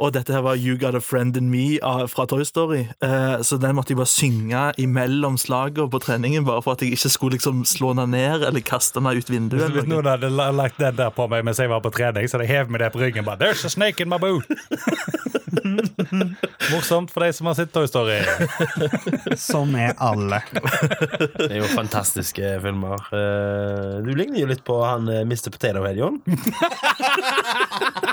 Og dette her var You Got A Friend In Me av, fra Toy Story. Eh, så den måtte jeg bare synge imellom slagene på treningen, bare for at jeg ikke skulle liksom slå henne ned eller kaste henne ut vinduet.
Hvis
Eller noe.
noen hadde la- lagt den der på meg mens jeg var på trening, så hadde jeg hevet meg ned på ryggen bare There's a snake in my boot! Morsomt for de som har sett Toy Story.
Som Sånn er alle.
Det er jo fantastiske filmer. Eh, Du ligner jo litt på han eh, Mr. Potato Head, Jon.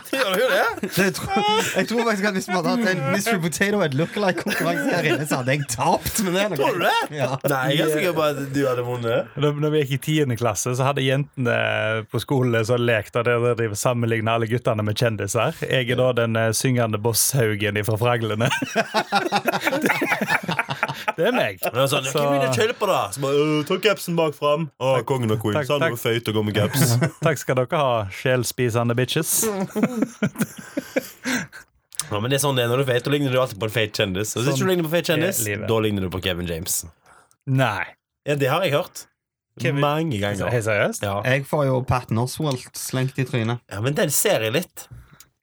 Gjør du jo det?
Det tror, jeg tror faktisk at Hvis vi hadde hatt en Mystery Potato and Lookalike-konkurranse her inne, så hadde jeg tapt. Men det er noe.
Tror du det?
Ja.
Nei, jeg er sikker på at du hadde vunnet.
Da når vi gikk i 10. klasse, så hadde jentene på skolen så lekt og der de sammenlignet alle guttene med kjendiser. Jeg er da den eh, syngende bosshaugen fra Fraglene. Det er meg.
Men det var sånn,
Så-
Hvem vil du kjøpe, da? Så bare, «Øh, Ta capsen bak fram. Å, kongen og queen.
Takk,
Sånn
takk.
var feit og gå med caps.
Takk skal dere ha, sjelspisende bitches.
Ja, men det er sånn det er når du er feit. Da ligner du alltid på en feit kjendis. Og hvis
Sånn
du ligner på en feit kjendis,
er livet.
da ligner du på Kevin James.
Nei.
Ja, det har jeg hørt.
Kevin-
Mange
Så,
ganger.
Hei, seriøst?
Ja.
Jeg får jo Patton Oswald slengt i trynet.
ja, men den ser jeg litt.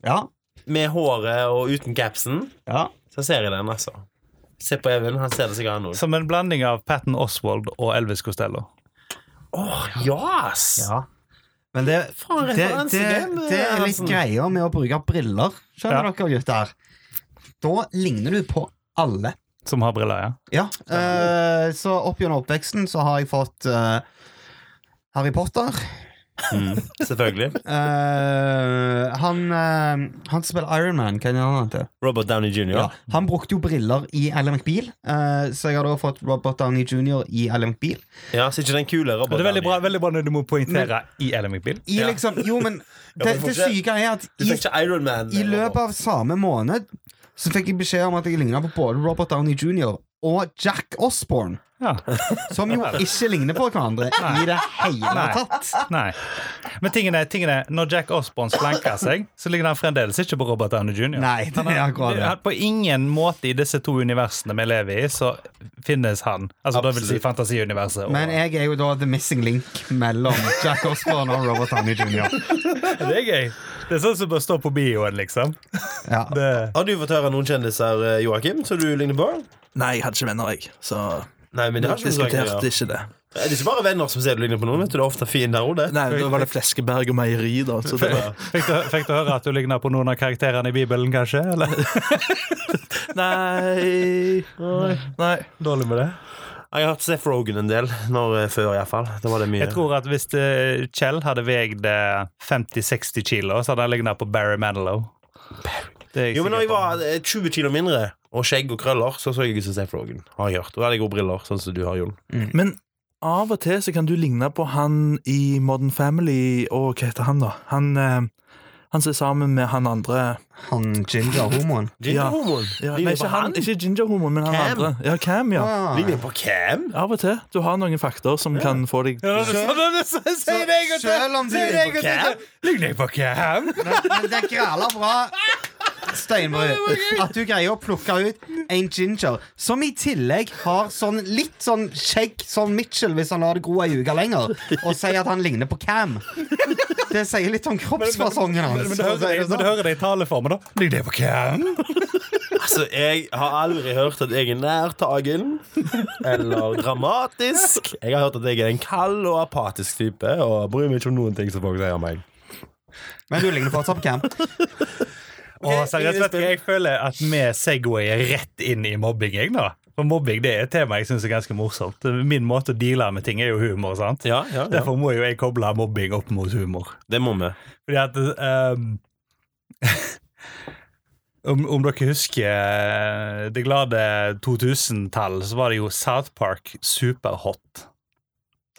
Ja.
Med håret og uten capsen.
ja.
Så ser jeg den, altså. Se på Even, han ser det sikkert han også.
Som en blanding av Patton Oswald og Elvis Costello.
Åh, jas!
Men det,
Faen,
det, det,
referanse, den, eh,
det er litt
Hansen.
greia med å bruke briller, skjønner
Ja.
dere, gutter. Da ligner du på alle.
Som har briller, ja.
Ja, eh, så opp gjennom oppveksten så har jeg fått eh, Harry Potter.
Mm, Selvfølgelig.
Eh, han, eh, han som spiller Ironman, hva er det han heter?
Robert Downey jr.
Ja. Han brukte jo briller i Ally McBeal, eh, så jeg har da fått Robert Downey jr. i Ally McBeal.
Ja, så ikke den kule Robert
Det er veldig
Downey.
bra, veldig bra når du må poengtere i LMI-bil.
I liksom, jo, men det,
men
det
for-
syke er at
Du
i,
fikk ikke Iron Man.
i løpet av samme måned så fikk jeg beskjed om at jeg ligna på både Robert Downey jr. og Jack Osborne.
Ja.
Som jo ikke ligner på hverandre i det hele
Nei.
tatt.
Nei. Men tingen er, tingen er når Jack Osborne slanker seg, så ligner han fremdeles ikke på Robert Downey jr.
Nei, det er akkurat det.
Han- På ingen måte i disse to universene vi lever i, så finnes han. Altså, det vil si fantasiuniverset. og-
Men jeg er jo da the missing link mellom Jack Osborne og Robert Downey jr.
Det er gøy. Det er sånn som bør stå på bioen, liksom.
Ja.
Det,
Har du fått høre noen kjendiser, eh, Joakim, som du ligner på?
Nei, jeg hadde ikke venner, jeg. Så
Nei, men det har
jeg
ikke noe å
diskuterte
gjøre.
ikke det.
Det er ikke bare venner som ser du ligner på noen. vet du, Det er ofte fiender òg, det.
Nei, Da var det Fleskeberg og meieri, da. Så det var...
fikk, du, fikk du høre at du ligner på noen av karakterene i Bibelen, kanskje? Eller?
Nei Nei.
Dårlig med det.
Jeg har hørt Seth Rogan en del når, eh, før, iallfall. Da var det mye.
Jeg tror at hvis eh, Kjell hadde veid eh, 50-60 kilo, så hadde han lignet på Barry Manilow. Det er jeg
jo, men når jeg
sikker på.
var eh, 20 kilo mindre og skjegg og krøller, så så jeg ut som Seth Rogan. Har jeg hørt. Og da hadde jeg gode briller, sånn som du har, Jon.
Men av og til så kan du ligne på han i Modern Family og hva heter han, da? Han, eh, han som er sammen med han andre
Han ginger-homoen.
Gingerhormon.
ja,
Ligner
Nei,
på
ikke,
han.
han, ikke Ginger-homoen, men han
Cam.
andre. Ja, Cam, ja.
Ah.
Ligner på Cam.
Av og til. Du har noen fakter som kan få deg
Ja, det er sånn- det er sånn- Si det en gang til!
Selv om
Si det en gang til!
Cam?
Ligner jeg på Cam?
Men det græler bra. Steinbrød. At du greier å plukke ut en ginger som i tillegg har sånn litt sånn skjegg som Mitchell hvis han lar det gro ei uke lenger, og sier at han ligner på Cam. Det sier litt om kroppsfasongen
Men
hans.
du hører det, men du
sånn.
hører det i taleformen, da. Ligner jeg sånn. på Cam?
Altså, jeg har aldri hørt at jeg er nærtagen eller dramatisk. Jeg har hørt at jeg er en kald og apatisk type og bryr meg ikke om noen ting som folk sier om meg.
Men du ligner fortsatt på Cam.
Åh, seriøst, vet du, hva, jeg føler at vi segwayer rett inn i mobbing. Jeg, da. For mobbing det er et tema jeg syns er ganske morsomt. Min måte å deale med ting er jo humor. sant?
Ja, ja, ja.
Derfor må jo jeg koble mobbing opp mot humor.
Det må vi.
Fordi at ehm, om, om dere husker det glade 2000-tall, så var det jo South Park superhot.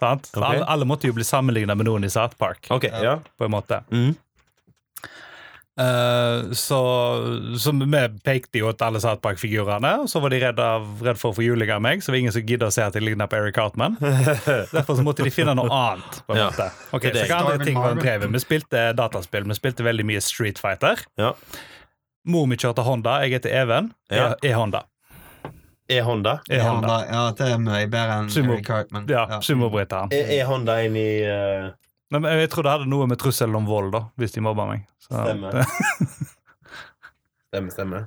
Sant? Så
Ok.
Alle, alle måtte jo bli sammenligna med noen i South Park,
Ok, ja.
på en måte.
Mm.
Eh, så, så vi pekte jo at alle satt bak figurene, og så var de redd, av, redd for å få juling av meg, så det var ingen som gidda å se at jeg ligna på Eric Cartman. Derfor så måtte de finne noe annet. på en
Ja.
måte. Ok,
Det er
så
det.
hva andre ting var
Marvin.
drevet? Vi spilte dataspill, vi spilte veldig mye Street Fighter.
Ja.
Mor mi kjørte Honda, jeg heter Even.
Ja.
E-Honda.
E-Honda.
E-Honda.
ja, det er mye bedre enn
Sumo.
Eric Cartman.
Ja, sumobryteren.
Eh. E-Honda inn i eh,
Nei, men Jeg tror det hadde noe med trusselen om vold, da, hvis de mobba meg. Så,
Stemmer. Stemme, stemme.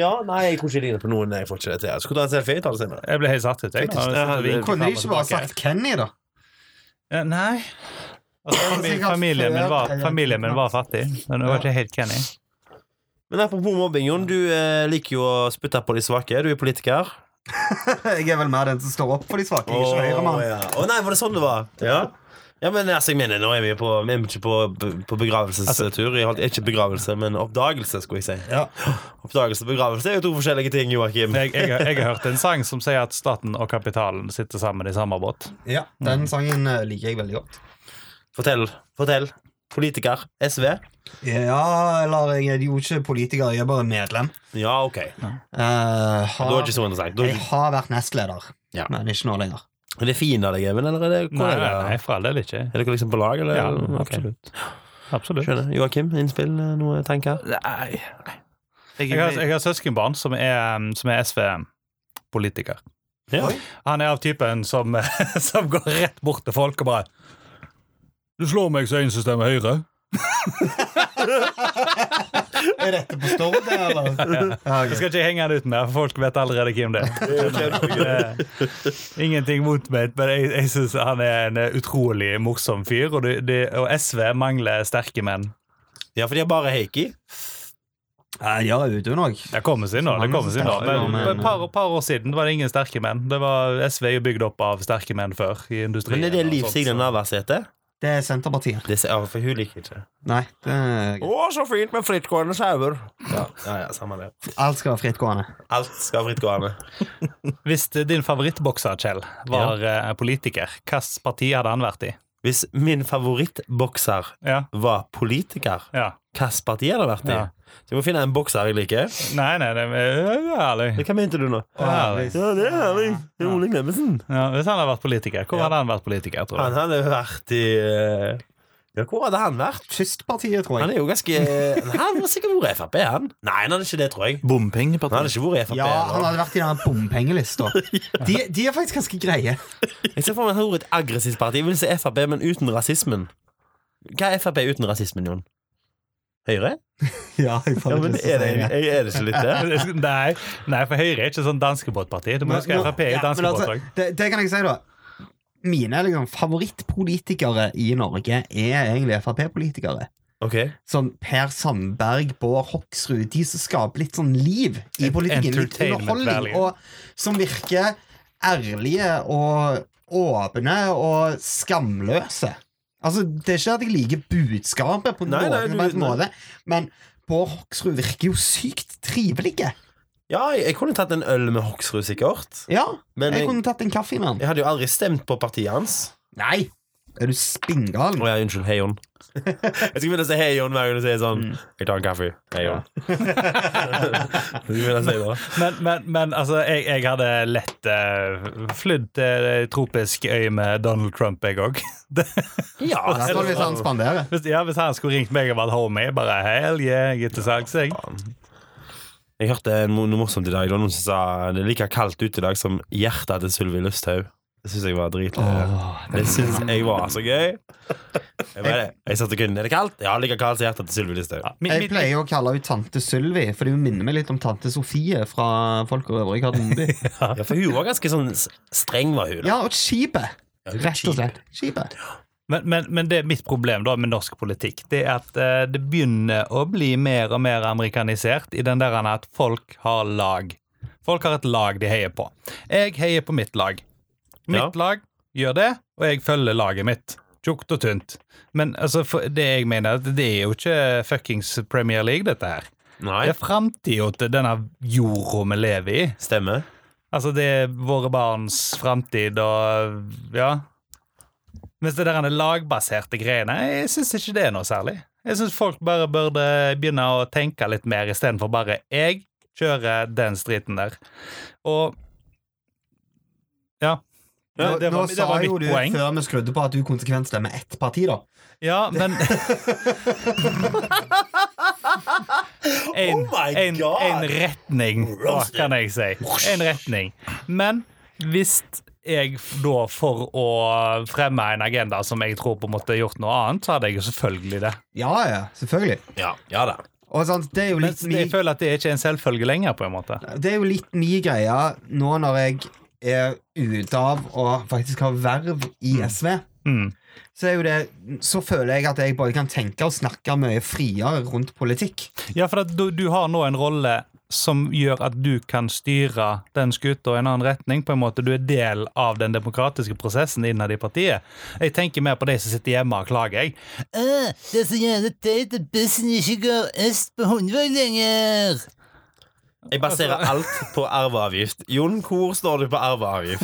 Ja, nei, jeg tror ikke jeg ligner på noen. Nei, jeg får ikke det til. Jeg skulle ta en selfie. Ta det senere.
jeg ble helt satt ut. Jeg, da. Jeg
Kunne de ikke bare sagt Kenny, da?
Eh, Nei. Altså, fami- familien, min var, familien min var fattig, men jeg var ikke helt Kenny.
Men apropos mobbing, Jon. Du eh, liker jo å spytte på de svake. Du er politiker.
Jeg er vel mer den som står opp for de svake. Jeg er ikke
Å,
høyremann.
ja. Å, nei, var det sånn det var? Ja, ja men altså, jeg mener, nå er vi på, vi er ikke på, på begravelsestur. Jeg holdt, ikke begravelse, men oppdagelse, skulle jeg si. Oppdagelse og begravelse er jo to forskjellige ting, Joakim.
Jeg, jeg, har- jeg har hørt en sang som sier at staten og kapitalen sitter sammen i samme båt.
Ja, Den sangen eh, liker jeg veldig godt.
Fortell. fortell Politiker. SV.
Ja, eller jeg er jo ikke politiker, jeg er bare medlem.
Ja, OK. Da
Eh,
er det
har,
ikke så interessant. Da er
jeg har vært nestleder,
Ja.
men ikke nå lenger.
ikke- Er det fin av deg, Even? Eller er det
Nei,
er
nei,
det?
nei for all del ikke.
Er dere liksom på lag, eller?
Ja,
Ok.
absolutt. absolutt.
Skjønner. Joakim, innspill? eh, Noe tanker?
Nei. Jeg,
Jeg har, jeg har søskenbarn som er, um, som er SV-politiker.
Ja.
Han er av typen som, som går rett bort til folk og bare Du slår meg som en som stemmer Høyre.
Er dette på Stord, eller?
Jeg skal ikke henge han ut mer, for folk vet allerede hvem det er. Eh, Ingenting mot meg, men jeg, jeg syns han er en eh, utrolig morsom fyr. Og, det, det, og SV mangler sterke menn.
Ja, for de har bare Heikki.
Eh, Ja, ja, ute nok.
Det kommer sin nå. det kommer sin nå. Men,
Men-
men par, par år siden var det ingen sterke menn. Det var SV er jo bygd opp av sterke menn før i industrien.
Men er det
og
Liv
sånt,
Signe
så-
Navarsete?
Det er Senterpartiet.
Det ser- Ja, for hun liker ikke det.
Nei, det er...
Å, så fint med frittgående sauer! Ja, ja, ja, samme det.
alt skal være frittgående.
Alt skal være frittgående.
Hvis eh, din favorittbokser, Kjell, var eh, politiker, hvilket parti hadde han vært i?
Hvis min favorittbokser
Ja,
var politiker,
ja.
hvilket parti hadde det vært i?
Ja.
Så jeg må finne en bokser jeg liker.
Nei, nei, det er ærlig.
Men Hva mente du nå?
Herlig.
Ja, det er herlig. Det er Ole Glemmesen.
Ja, hvis han hadde vært politiker, hvor
Ja.
hadde han vært politiker, tror
Han
du?
hadde vært i eh, Ja, hvor hadde han vært?
Kystpartiet, tror
Han
jeg.
er jo ganske Nei, Han har sikkert vært Frp, han. Nei, han hadde ikke det, tror jeg. Han hadde
Bompengepartiet.
ikke vært Frp.
Ja, han
eller.
hadde vært i den her bompengelista. De, de er faktisk ganske greie.
Jeg ser for meg at han hadde vært et aggressivt parti. Jeg vil se Frp, men uten rasismen. Hva er Frp uten rasismen, Jon? Høyre?
Ja, jeg
Ja, men er det,
det.
er det ikke litt det?
Nei, nei, for Høyre er ikke sånn danskebåtparti. Du må huske
Men-
Frp er
ja,
et
men altså,
danskebåtlag.
det, det kan jeg si, da. Mine liksom, favorittpolitikere i Norge er egentlig Frp-politikere.
Ok
Sånn Per Sandberg, Bård Hoksrud, de som skaper litt sånn liv i
Et
politikken. Litt
entertainment value.
underholdning. Og som virker ærlige og åpne og skamløse. Altså, Det er ikke at jeg liker budskapet på
Nei, nei,
noen
du-
som helst
nei.
måte, men Bård Hoksrud virker jo sykt trivelig.
Ja, jeg, jeg kunne tatt en øl med Hoksrud, sikkert.
Ja,
Men
jeg
jeg,
kunne tatt en kaffe med han.
jeg hadde jo aldri stemt på partiet hans.
Nei! Er du spinngal?
Å ja, unnskyld. Hei, Jon. Jeg skal begynne å si hei, Jon, hver gang du sier sånn Jeg tar en kaffe. Hei, Jon. Jeg skal begynne å si det.
Men, men, men altså, jeg, jeg hadde lett eh, flydd til ei tropisk øy med Donald Trump, jeg òg.
Ja,
Der står sånn. det hvis han spanderer.
Hvis, ja, hvis han skulle ringt meg og vært homie, bare hell yeah, gitt til salgs, jeg.
Jeg hørte noe noe morsomt i dag. Det var noen som sa det er like kaldt ute i dag som hjertet til Sylvi Lysthaug. Det syns jeg var drit. det syns jeg var så gøy. Jeg, bare, jeg satt og kunne. Er det kaldt? Ja, like kaldt som hjertet til Sylvi Lysthaug.
Ja, min,
Jeg
min,
pleier å kalle henne tante Sylvi, fordi hun minner meg litt om tante Sofie fra Folk og øvrig harmoni.
Ja, for hun var ganske sånn s- streng, var hun. da.
Ja, og skipet. Rett og slett. Skipet.
men, men, men det er mitt problem da med norsk politikk. Det er at eh, det begynner å bli mer og mer amerikanisert i den der at folk har lag. Folk har et lag de heier på. Jeg heier på mitt lag. Mitt
Ja.
lag gjør det, og jeg følger laget mitt. Tjukt og tynt. Men altså, for, det jeg mener, det er jo ikke fuckings Premier League, dette her.
Nei.
Det er framtida til denne jorda vi lever i.
Stemmer.
Altså, det er våre barns framtid og Ja. Mens det der lagbaserte greiene, jeg syns ikke det er noe særlig. Jeg syns folk bare burde begynne å tenke litt mer istedenfor bare 'jeg kjører den streeten der'. Og Ja.
Nå,
det, det
nå
var, det
sa
var
jo
mitt
du
poeng.
før vi skrudde på at du konsekvent stemmer ett parti, da.
Ja, men en,
Oh my
en,
God!
en retning, hva kan jeg si. En retning. Men hvis jeg da for å fremme en agenda som jeg tror på en måte gjort noe annet, så hadde jeg jo selvfølgelig det.
Ja, ja, selvfølgelig.
Ja, ja da.
Og sant, det er jo
Men
litt mi,
jeg føler at det er ikke en selvfølge lenger, på en måte.
det er jo litt mi greie nå når jeg er ute av og faktisk har verv i SV.
Mm.
Så, er jo det, så føler jeg at jeg både kan tenke og snakke mye friere rundt politikk.
Ja, for at du, du har nå en rolle som gjør at du kan styre den skuta i en annen retning. på en måte. Du er del av den demokratiske prosessen innad i partiet. Jeg tenker mer på de som sitter hjemme og klager. jeg.
«Åh, det er så jævlig teit at bussen ikke går øst på Hundvåg lenger.
Jeg baserer alt på arveavgift. Jon, hvor står du på arveavgift?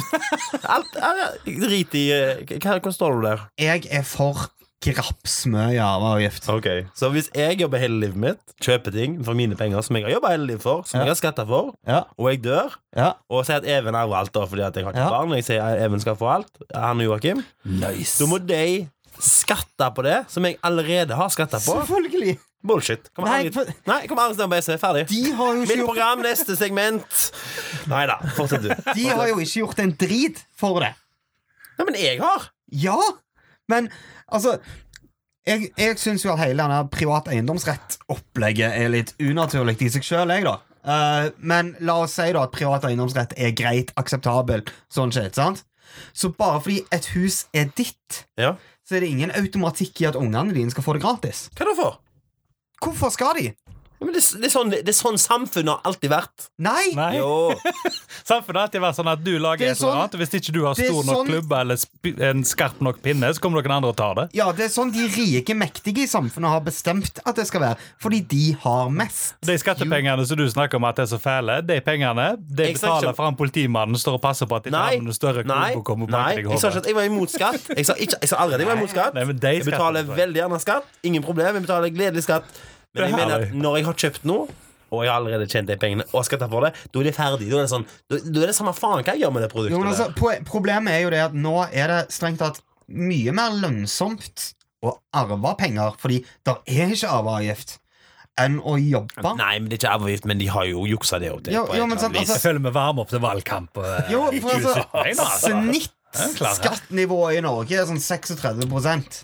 Alt, alt, drit i eh, hva- Hvor står du der?
Jeg er for grapsmye arveavgift.
Ok Så hvis jeg jobber hele livet mitt, kjøper ting for mine penger som jeg har jobba hele livet for, som
Ja.
jeg har skatta for,
Ja.
og jeg dør,
Ja.
og sier at Even arver alt da fordi at jeg har ikke
Ja.
barn, og jeg sier at Even skal få alt, han og Joakim,
Nice.
da må de skatte på det som jeg allerede har skatta på.
Selvfølgelig!
Bullshit. Kom
Nei,
Nei,
for-
Nei, kom Arnstein på SE. Ferdig.
De har jo ikke
Mitt
gjort,
program, neste segment. Nei da, fortsett du. Nei,
de har jo ikke gjort en drit for det.
men jeg har.
Ja, men altså Jeg, jeg syns jo at hele denne privat eiendomsrett-opplegget er litt unaturlig i seg sjøl, jeg, da. Eh, men la oss si da at privat eiendomsrett er greit, akseptabel, sånn shit, sant? Så bare fordi et hus er ditt,
Ja.
så er det ingen automatikk i at ungene dine skal få det gratis.
Hva da for?
Hvorfor skal de?
Men det, er- det, er sånn, det er sånn samfunnet har alltid vært.
Nei!
Nei.
Jo.
Samfunnet har alltid vært sånn at du lager
Det er
et eller
sånn-
annet, og hvis ikke du har
det er
stor nok
sånn-
klubbe eller sp- en skarp nok pinne, så kommer noen andre og tar det.
Ja, det er sånn de rike, mektige i samfunnet har bestemt at det skal være. Fordi de har mest.
De skattepengene som du snakker om at er så fæle, de pengene de
Jeg snakker ikke
betaler
om-
for han politimannen som står og passer på at de
Nei.
tar en større
Nei.
klubb og kommer
Nei.
bak deg i
Jeg sa ikke
hodet.
at jeg var imot skatt. Jeg sa, ikke, jeg sa aldri at jeg var imot skatt.
Nei, men de
Jeg betaler
skattene-
veldig gjerne skatt. Ingen problem. Jeg betaler gledelig skatt.
Det
Men jeg
har
mener
jeg.
at når jeg har kjøpt noe, og jeg har allerede tjent de pengene, og skal ta for det, da er det ferdig. Da er det, sånn, da, da er det samme faen hva jeg gjør med det produktet.
Jo, men
der.
altså, po- Problemet er jo det at nå er det strengt tatt mye mer lønnsomt å arve penger, fordi der er ikke arveavgift, enn å jobbe.
Nei, men det er ikke arveavgift, men de har jo juksa det opp. til på
Jo, jo,
et
men
eller
sant,
annet vis.
Jeg føler vi varmer opp til valgkamp. eh,
Jo,
i
for altså,
2017. Nei, da, altså.
Skattnivået i Norge er sånn 36 sant?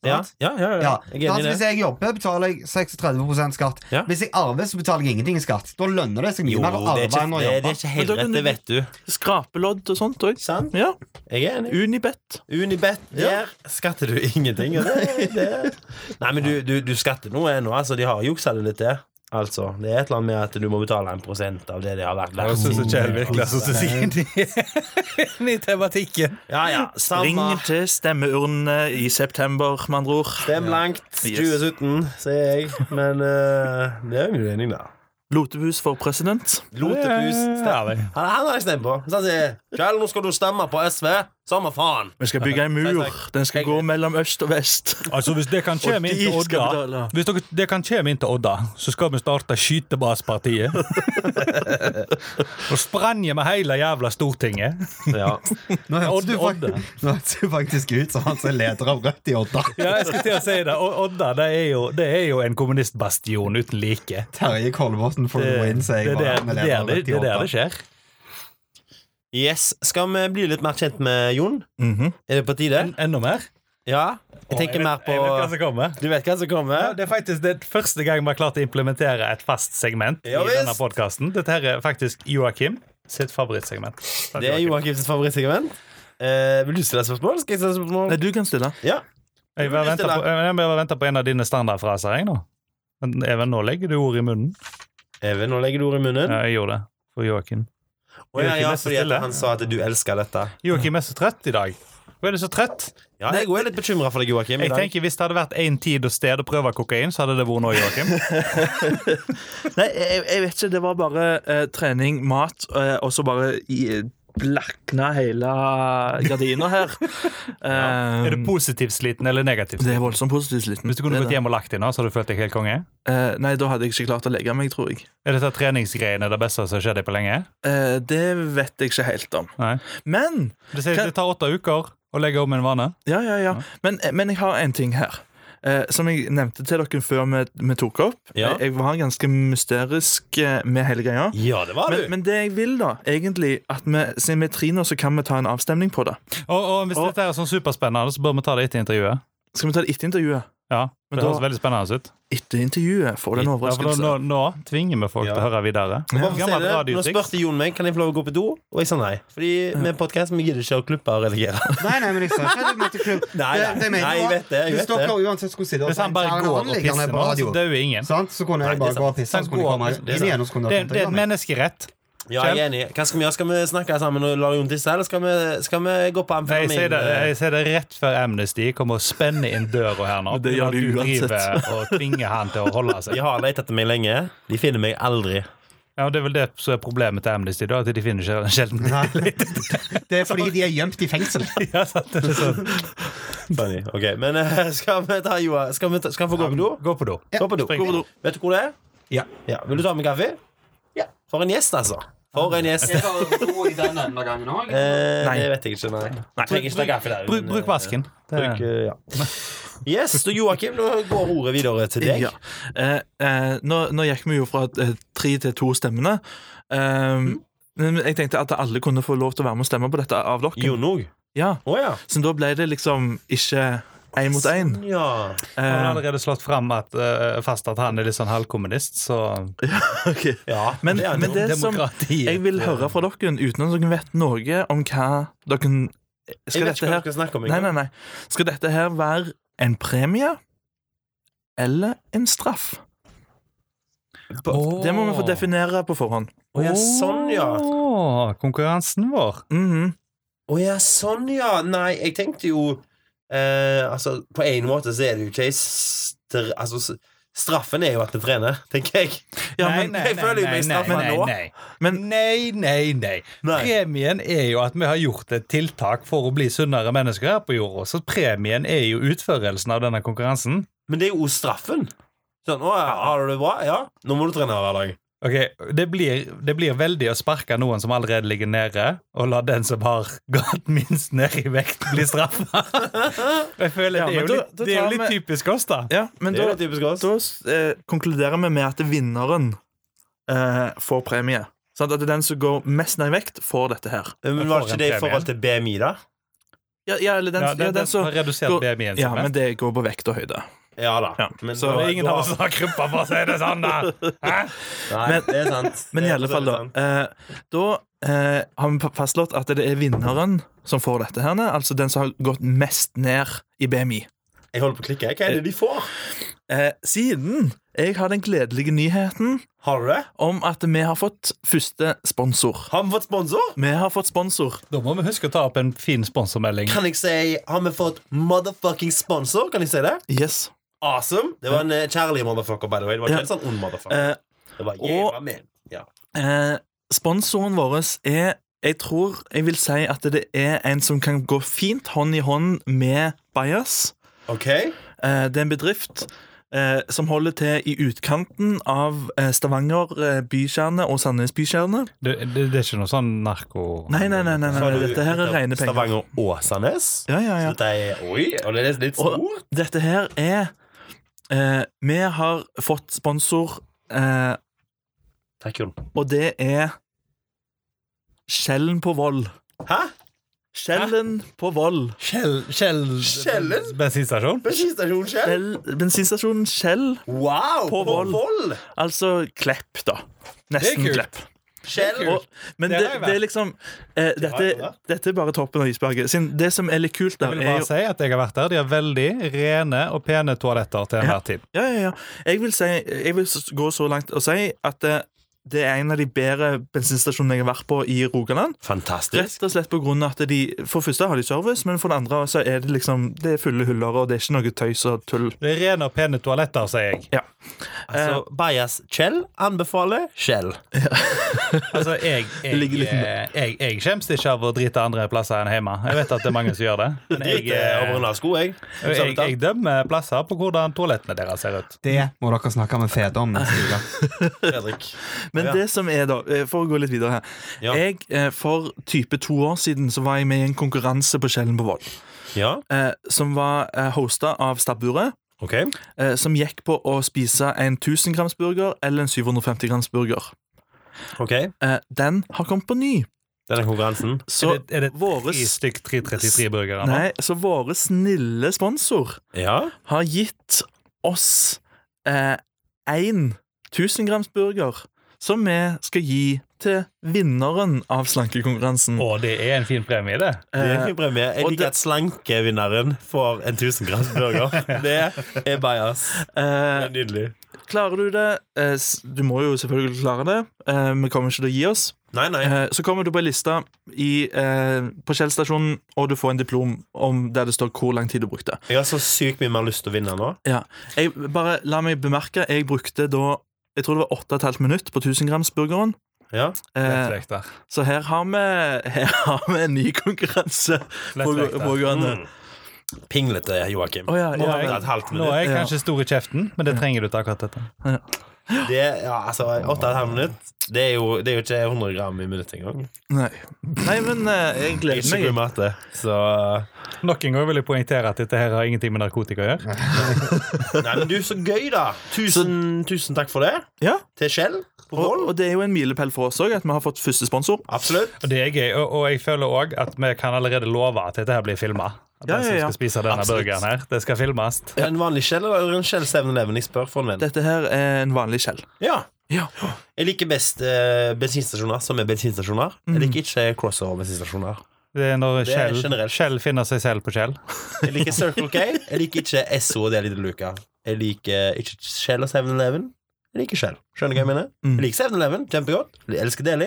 ja, ja, ja, ja.
Ja.
Jeg er enig
sant,
i
Hvis
det.
jeg jobber, betaler jeg 36 skatt.
Ja.
Hvis jeg arver, så betaler jeg ingenting i skatt. Da lønner det seg mye
Jo, det
mer å
er
arve
ikke,
enn å
det, det er ikke
jobbe.
Men da
helt
kan
rett,
du-
det vet du.
Skrapelodd og sånt òg.
Sant?
Ja.
Jeg er enig.
Unibet.
Unibet, der skatter du ingenting. og Det, det. Nei, men du, du, du skatter noe ennå. Altså, de har juksa det litt til. Altså, det er et eller annet med at du må betale en prosent av det det har vært
Jeg synes ikke jeg virkelig jeg synes
verdt.
ikke de er i tematikken.
Ja, ja.
Ring
Samme.
til stemmeurnene i september, med andre ord.
Stem langt. 2017, sier jeg. Men eh, det er jo min mening, da.
Lotepus for president.
Lotepus. Stem.
Stemmer.
Han han har jeg stemt på. Så han sier Kjell, nå skal du stemme på SV. Samme faen.
Vi skal bygge en mur. Den skal gå mellom øst og vest.
Altså, hvis det kan skje
Og
med
de
inn til
skal
Odda,
betale.
hvis dere, det kan skje med inn til Odda, så skal vi starte Skytebasepartiet. og sprenge med hele jævla Stortinget.
Ja.
Nå hørtes
Odd-
du, fak-
Odde.
nå hørtes du faktisk ut som han som er leder av Rødt i Odda.
Ja, jeg skal til å si det. Og Odda det er jo, det er jo en kommunistbastion uten like.
Terje Kolbotn for
Det,
the win,
det,
sier
er
jeg. bare.
der-
Han er
det, er
leder av
der det,
Rødt i
det er der
Odda.
det skjer.
Yes. Skal vi bli litt mer kjent med Jon? Er det på tide?
Enda mer.
Ja. Jeg tenker
vet-
mer på
jeg vet hva som kommer.
Du vet hva som
Ja,
kommer?
det er faktisk det første gang vi har klart å implementere et fast segment.
Ja,
i
visst.
denne podcasten. Dette her er faktisk Joakim sitt favorittsegment. Sant,
Det er
Joakim?
Joakims favorittsegment. Eh, vil du stille spørsmål? Skal jeg stille spørsmål?
Nei, du kan stille.
Ja.
Jeg bare venter på, jeg bare venter på en av dine standardfraser. jeg nå. Men Even, nå legger du ord i munnen.
Even, nå legger du ordet i munnen.
Ja, jeg gjorde det for Joakim.
Å, ja,
Joakim
ja,
er så
fordi at
stille.
han sa at du elsker dette.
Joakim er så trøtt i dag. Hvorfor er du så trøtt?
Ja, jeg er litt bekymra for deg, Joakim. i
Jeg
dag.
tenker Hvis det hadde vært én tid og sted å prøve kokain, så hadde det vært nå, Joakim.
Nei, jeg, jeg vet ikke. Det var bare eh, trening, mat, eh, og så bare i, blakna hele gardina her. Eh,
Er du positivt sliten eller negativt?
det er voldsomt positivt sliten.
Hvis du kunne
Det er
gått hjem og lagt deg nå, så hadde du følt deg helt konge?
det. Eh, nei, da hadde jeg ikke klart å legge meg, tror jeg.
Er dette treningsgreiene det beste som har skjedd deg på lenge?
Eh, det vet jeg ikke helt om.
Nei.
Men
Det, sier, det tar åtte uker å legge om en vane.
Ja, ja, ja. Men, eh, men jeg har en ting her. Eh, som jeg nevnte til dere før vi, vi tok opp. Eh,
Ja.
Jeg, jeg var ganske mysterisk eh, med hele greia.
Ja, det var
Men,
du.
men det jeg vil, da, egentlig at vi, siden vi er tre nå, så kan vi ta en avstemning på det.
Og, og hvis
Og-
dette er sånn superspennende, så bør vi ta det etter intervjuet.
Skal vi ta det etter intervjuet?
Ja,
Men
Det
da-
høres veldig spennende ut.
Etter intervjuet får du en
Ja, for nå,
overraskelse.
nå, nå tvinger vi folk
Ja.
til å høre videre.
Bare for å si
Gammelt
det, Nå
radiotriks.
spurte Jon meg Kan jeg få lov å gå på do, og jeg sa nei. Fordi med podkast gidder ikke å klippe og redigere.
Nei, nei, men jeg sa ikke at du måtte klubb.
Nei,
Det-
nei,
det mener
nei, jeg
var-
vet det, jeg vet
Hvis
det.
dere uansett skulle sitte og
Hvis han bare går
«Ja, han
og
ligger ned
pisser
på
nå, så
radio»,
dør jo ingen.
sant? Så kunne
Nei,
jeg
det er
bare gå
sant.
og pisse,
Så
og så
han
kunne jeg
går
komme
og pisser.
inn igjen. og så kunne
Det,
dere
det er et
intervjue meg.
menneskerett.
Ja, jeg er enig. Hva skal vi gjøre? Skal vi snakke sammen og la Jon tisse, eller skal vi, skal vi gå på
Nei, jeg,
amfetamin? Eh,
ser det, jeg ser det rett før Amnesty kommer og spenner inn døra her nå.
Men det gjør
At
de uansett.
driver Og tvinger han til å holde seg.
De har lett etter meg lenge. De finner meg aldri.
Ja, og Det er vel det som er problemet til Amnesty, da, at de finner sjel- sjelden
Det er fordi de er gjemt i fengsel.
ja, sant, det er sånn.
Funny. Ok, Men eh, skal vi ta Joa Skal, vi ta, skal han få gå på do?
Gå på do.
Gå på do.
Spring.
Gå på do. Vet du hvor det er?
Ja.
Vil du ta med kaffe? Ja. For en gjest, altså. For en gjest. Eh,
Nei.
det vet jeg ikke. Nei. Trenger ikke ta kaffe der.
Bruk, bruk vasken. Det,
Bruk, eh, ja. Yes, så Joakim, nå går ordet videre til deg.
Ja. Eh, eh, nå, nå gikk vi jo fra eh, tre til to stemmene. Eh,
Mm.
men Jeg tenkte at alle kunne få lov til å være med og stemme på dette av dere.
Jon òg.
Ja.
Å ja. Sånn,
Så da ble det liksom ikke én mot én.
ja.
han har
Eh,
allerede slått fram at, eh, fast at han er litt sånn halvkommunist, så
ok.
Ja.
Men,
det er
men det som
Demokratiet.
jeg vil høre fra dere, uten at dere vet noe om hva dere
Jeg
Skal
vet ikke
dette
hva
her
du skal snakke om.
Nei,
engang.
nei, nei. Skal dette her være en premie eller en straff?
Åh.
Det må vi få definere på forhånd.
Å ja, sånn, ja.
Åh, konkurransen vår.
Mhm.
Å ja, sånn, ja. Nei, jeg tenkte jo eh, Altså, på en måte så er det jo ikke ei str... Altså, s- straffen er jo at vi trener, tenker jeg.
Ja,
Nei,
men
nei,
jeg føler jo
nei,
meg
nei,
straffet
nei,
nå.
nei.
Men-
nei, nei, nei. Premien er jo at vi har gjort et tiltak for å bli sunnere mennesker her på jorda. Så premien er jo utførelsen av denne konkurransen.
Men det er jo også straffen. Sånn, å, ja, har du det bra? Ja, nå må du trene hver dag.
Ok, det blir, det blir veldig å sparke noen som allerede ligger nede, og la den som har gått minst ned i vekt, bli straffa. Jeg føler
Ja,
det, er
men
jo
da-
litt,
da
det er jo
tar
litt
vi-
typisk oss, da.
ja, men
Det er
da,
jo typisk oss.
da eh, konkluderer vi med at vinneren eh, får premie. Sånn at den som går mest ned i vekt, får dette her.
Men
Jeg
var
får en
det ikke det i
premie.
forhold til BMI, da?
Ja, ja eller den,
Ja,
ja,
den,
den
den
som
har redusert
går-
BMI-en
Ja,
som
men
mest.
det går på vekt og høyde.
Ja da.
Ja,
Men
så
da-
Det er ingen
da-
av oss som har krympa, for å si det sånn, da. Hæ?
Nei,
Men-
det er sant.
Men
Det
i
er
alle
for så
fall,
vidt
da.
sant.
Eh, da eh, har vi fastslått at det er vinneren som får dette her, ne? altså den som har gått mest ned i BMI.
Jeg holder på å klikke. Hva er det de får?
Eh, siden jeg har den gledelige nyheten
Har du det?
om at vi har fått første sponsor.
Har vi fått sponsor?
Vi har fått sponsor.
Da må vi huske å ta opp en fin sponsormelding.
Kan jeg si Har vi fått motherfucking sponsor? Kan jeg si det?
Yes.
Awesome. Det var en eh, kjærlig motherfucker, by the way. Det var ikke
Ja.
en sånn ond motherfucker.
Eh,
Det var
og-
jævla min. Ja.
eh, sponsoren vår er Jeg tror jeg vil si at det er en som kan gå fint hånd i hånd med Bias.
OK?
Eh, Det er en bedrift eh, som holder til i utkanten av eh, Stavanger eh, bykjerne og Sandnes bykjerne.
Det, det, det er ikke noe sånn narko...
Nei, nei, nei, nei, nei,
Så har
nei
du
Eh, dette her er rene penger.
Stavanger Åsanes.
Ja, ja,
Så
ja.
dette er Oi, og det er litt stort.
Dette her er eh, Vi har fått sponsor, eh,
Takk, Jon.
og det er Skjellen på Vold.
Hæ?
Skjellen på Vold.
Kjell... Kjell...
Kjellen?
Bensinstasjon?
Bensinstasjon Skjell?
Skjell, bensinstasjonen Skjell,
Wow!
På
På
Voll.
Voll!
altså Klepp, da. Nesten
kult.
Klepp.
Skjell.
Og, men
Det
det,
har
det,
jeg vært.
er liksom eh,
har jeg
dette,
vært.
dette er bare toppen av isberget. Siden det som er litt kult
Jeg
der,
vil
er
bare
jo
si at jeg har vært der. De har veldig rene og pene toaletter til enhver tid.
Ja, ja, ja. Jeg vil, si, jeg vil s- gå så langt og si at eh, det er en av de bedre bensinstasjonene jeg har vært på i Rogaland.
Fantastisk.
Rett og slett på grunn av at de For det første har de service, men for det andre så er det liksom Det er fulle huller, og det er ikke noe tøys og tull.
Det er rene og pene toaletter, sier jeg.
Altså, Bajas Kjell anbefaler Kjell.
Altså, jeg jeg,
ligger litt
jeg, jeg, skjems ikke av å drite andre plasser enn hjemme. Jeg vet at det er mange som gjør det. Men jeg,
Litt eh, over en
jeg,
lav sko, jeg.
jeg, jeg dømmer plasser på hvordan toalettene deres ser ut.
Det må dere snakke med Fede om neste uke.
Fredrik.
Men
Ja.
det som er da, eh, for å gå litt videre her
Ja.
Jeg, eh, For type to år siden så var jeg med i en konkurranse på Skjellen på Vold.
Ja,
eh, Som var eh, hosta av Stabburet.
OK.
eh, Som gikk på å spise en 1000 grams burger eller en 750 grams burger.
ok
Eh, Den har kommet på ny.
Denne konkurransen.
Så
er det, er det
våre
tre stykk 333-burgere nå?
Nei, så våre snille sponsor
Ja.
har gitt oss eh, en 1000 grams burger som vi skal gi til vinneren av
Mm.
slankekonkurransen.
Og det er en fin premie, det.
Det er en
Eh,
fin premie. Jeg
og
liker
det-
at slankevinneren får en 1000 grams burger. Det er bajas. Det
eh,
er nydelig.
klarer du det? Eh, s- du må jo selvfølgelig klare det. Eh, vi kommer ikke til å gi oss.
Nei, nei.
Eh, så kommer du på ei liste i, eh, på Kjell stasjon, og du får en diplom om der det står hvor lang tid du brukte.
Jeg har så sykt mye mer lyst til å vinne nå.
Jeg, bare la meg bemerke, jeg brukte da jeg tror det var 8,5 minutt på 1000 grams burgeren.
Ja.
Eh,
Lettvekter.
Så her har vi, her har vi en ny konkurranse.
Lettvekter.
Pågående.
Mm. Pinglete, Joakim.
Å ja,
Nå
ja,
har jeg
ja.
hatt halvt
Nå
minutt.
er jeg kanskje stor i kjeften, men det trenger du til akkurat dette.
Det, ja, altså, åtte og et halvt minutt. Det er, jo, det er jo ikke 100 gram i minuttet engang.
Nei. Nei, men eh, jeg
Jeg er
gleder
Ikke god i
meg.
matte. Så
eh, Nok en gang vil jeg poengtere at dette her har ingenting med narkotika å gjøre.
Nei, men du, så gøy, da. Tusen, tusen takk for det.
Ja,
Til Kjell på
og,
Voll.
og det er jo en milepæl for oss òg, at vi har fått første sponsor.
Absolutt.
Og det er gøy, og, og jeg føler òg at vi kan allerede love at dette her blir filma.
Ja,
Den
ja,
som
ja.
skal spise denne
Absolutt.
burgeren her, det skal filmes.
En vanlig Kjell eller en Kjell 7-Eleven? Jeg spør for en venn.
Dette her er en vanlig Kjell.
Ja.
Ja.
Jeg liker best eh, bensinstasjoner som er bensinstasjoner. Jeg liker ikke crossover-bensinstasjoner.
Det er når
Det er
Kjell,
generelt.
Kjell finner seg selv på Kjell.
Jeg liker Circle K. Jeg liker ikke SO og Deli de Luca. Jeg liker ikke Shell og 7-Eleven. Jeg liker Shell. Skjønner du hva jeg mener?
Mm.
Jeg liker 7-Eleven kjempegodt. Jeg elsker Deli,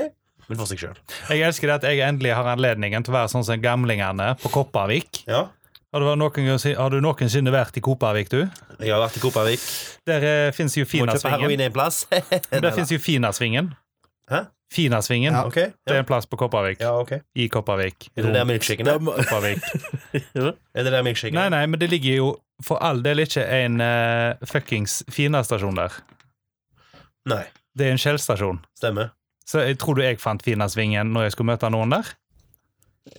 men for seg sjøl.
Jeg elsker det at jeg endelig har anledningen til å være sånn som gamlingene på Kopervik.
Ja.
Har du, vært noen, gang- har du noensinne vært i Kopervik, du?
Jeg har vært i Kopervik.
Der fins jo
Må kjøpe
Finasvingen.
heroin i en plass.
Der fins jo Finasvingen.
Hæ?
Finasvingen.
Ok.
Det er
Ja.
en plass på Kopervik.
ja, ok.
I Kopervik.
Er det der milkshaken er?
Kopervik.
Er det der milkshaken
Nei, nei, men det ligger jo for all del ikke en eh, fuckings Fina-stasjon der.
Nei.
Det er en Shell-stasjon.
Stemmer.
Så jeg tror du jeg fant Finasvingen når jeg skulle møte noen der?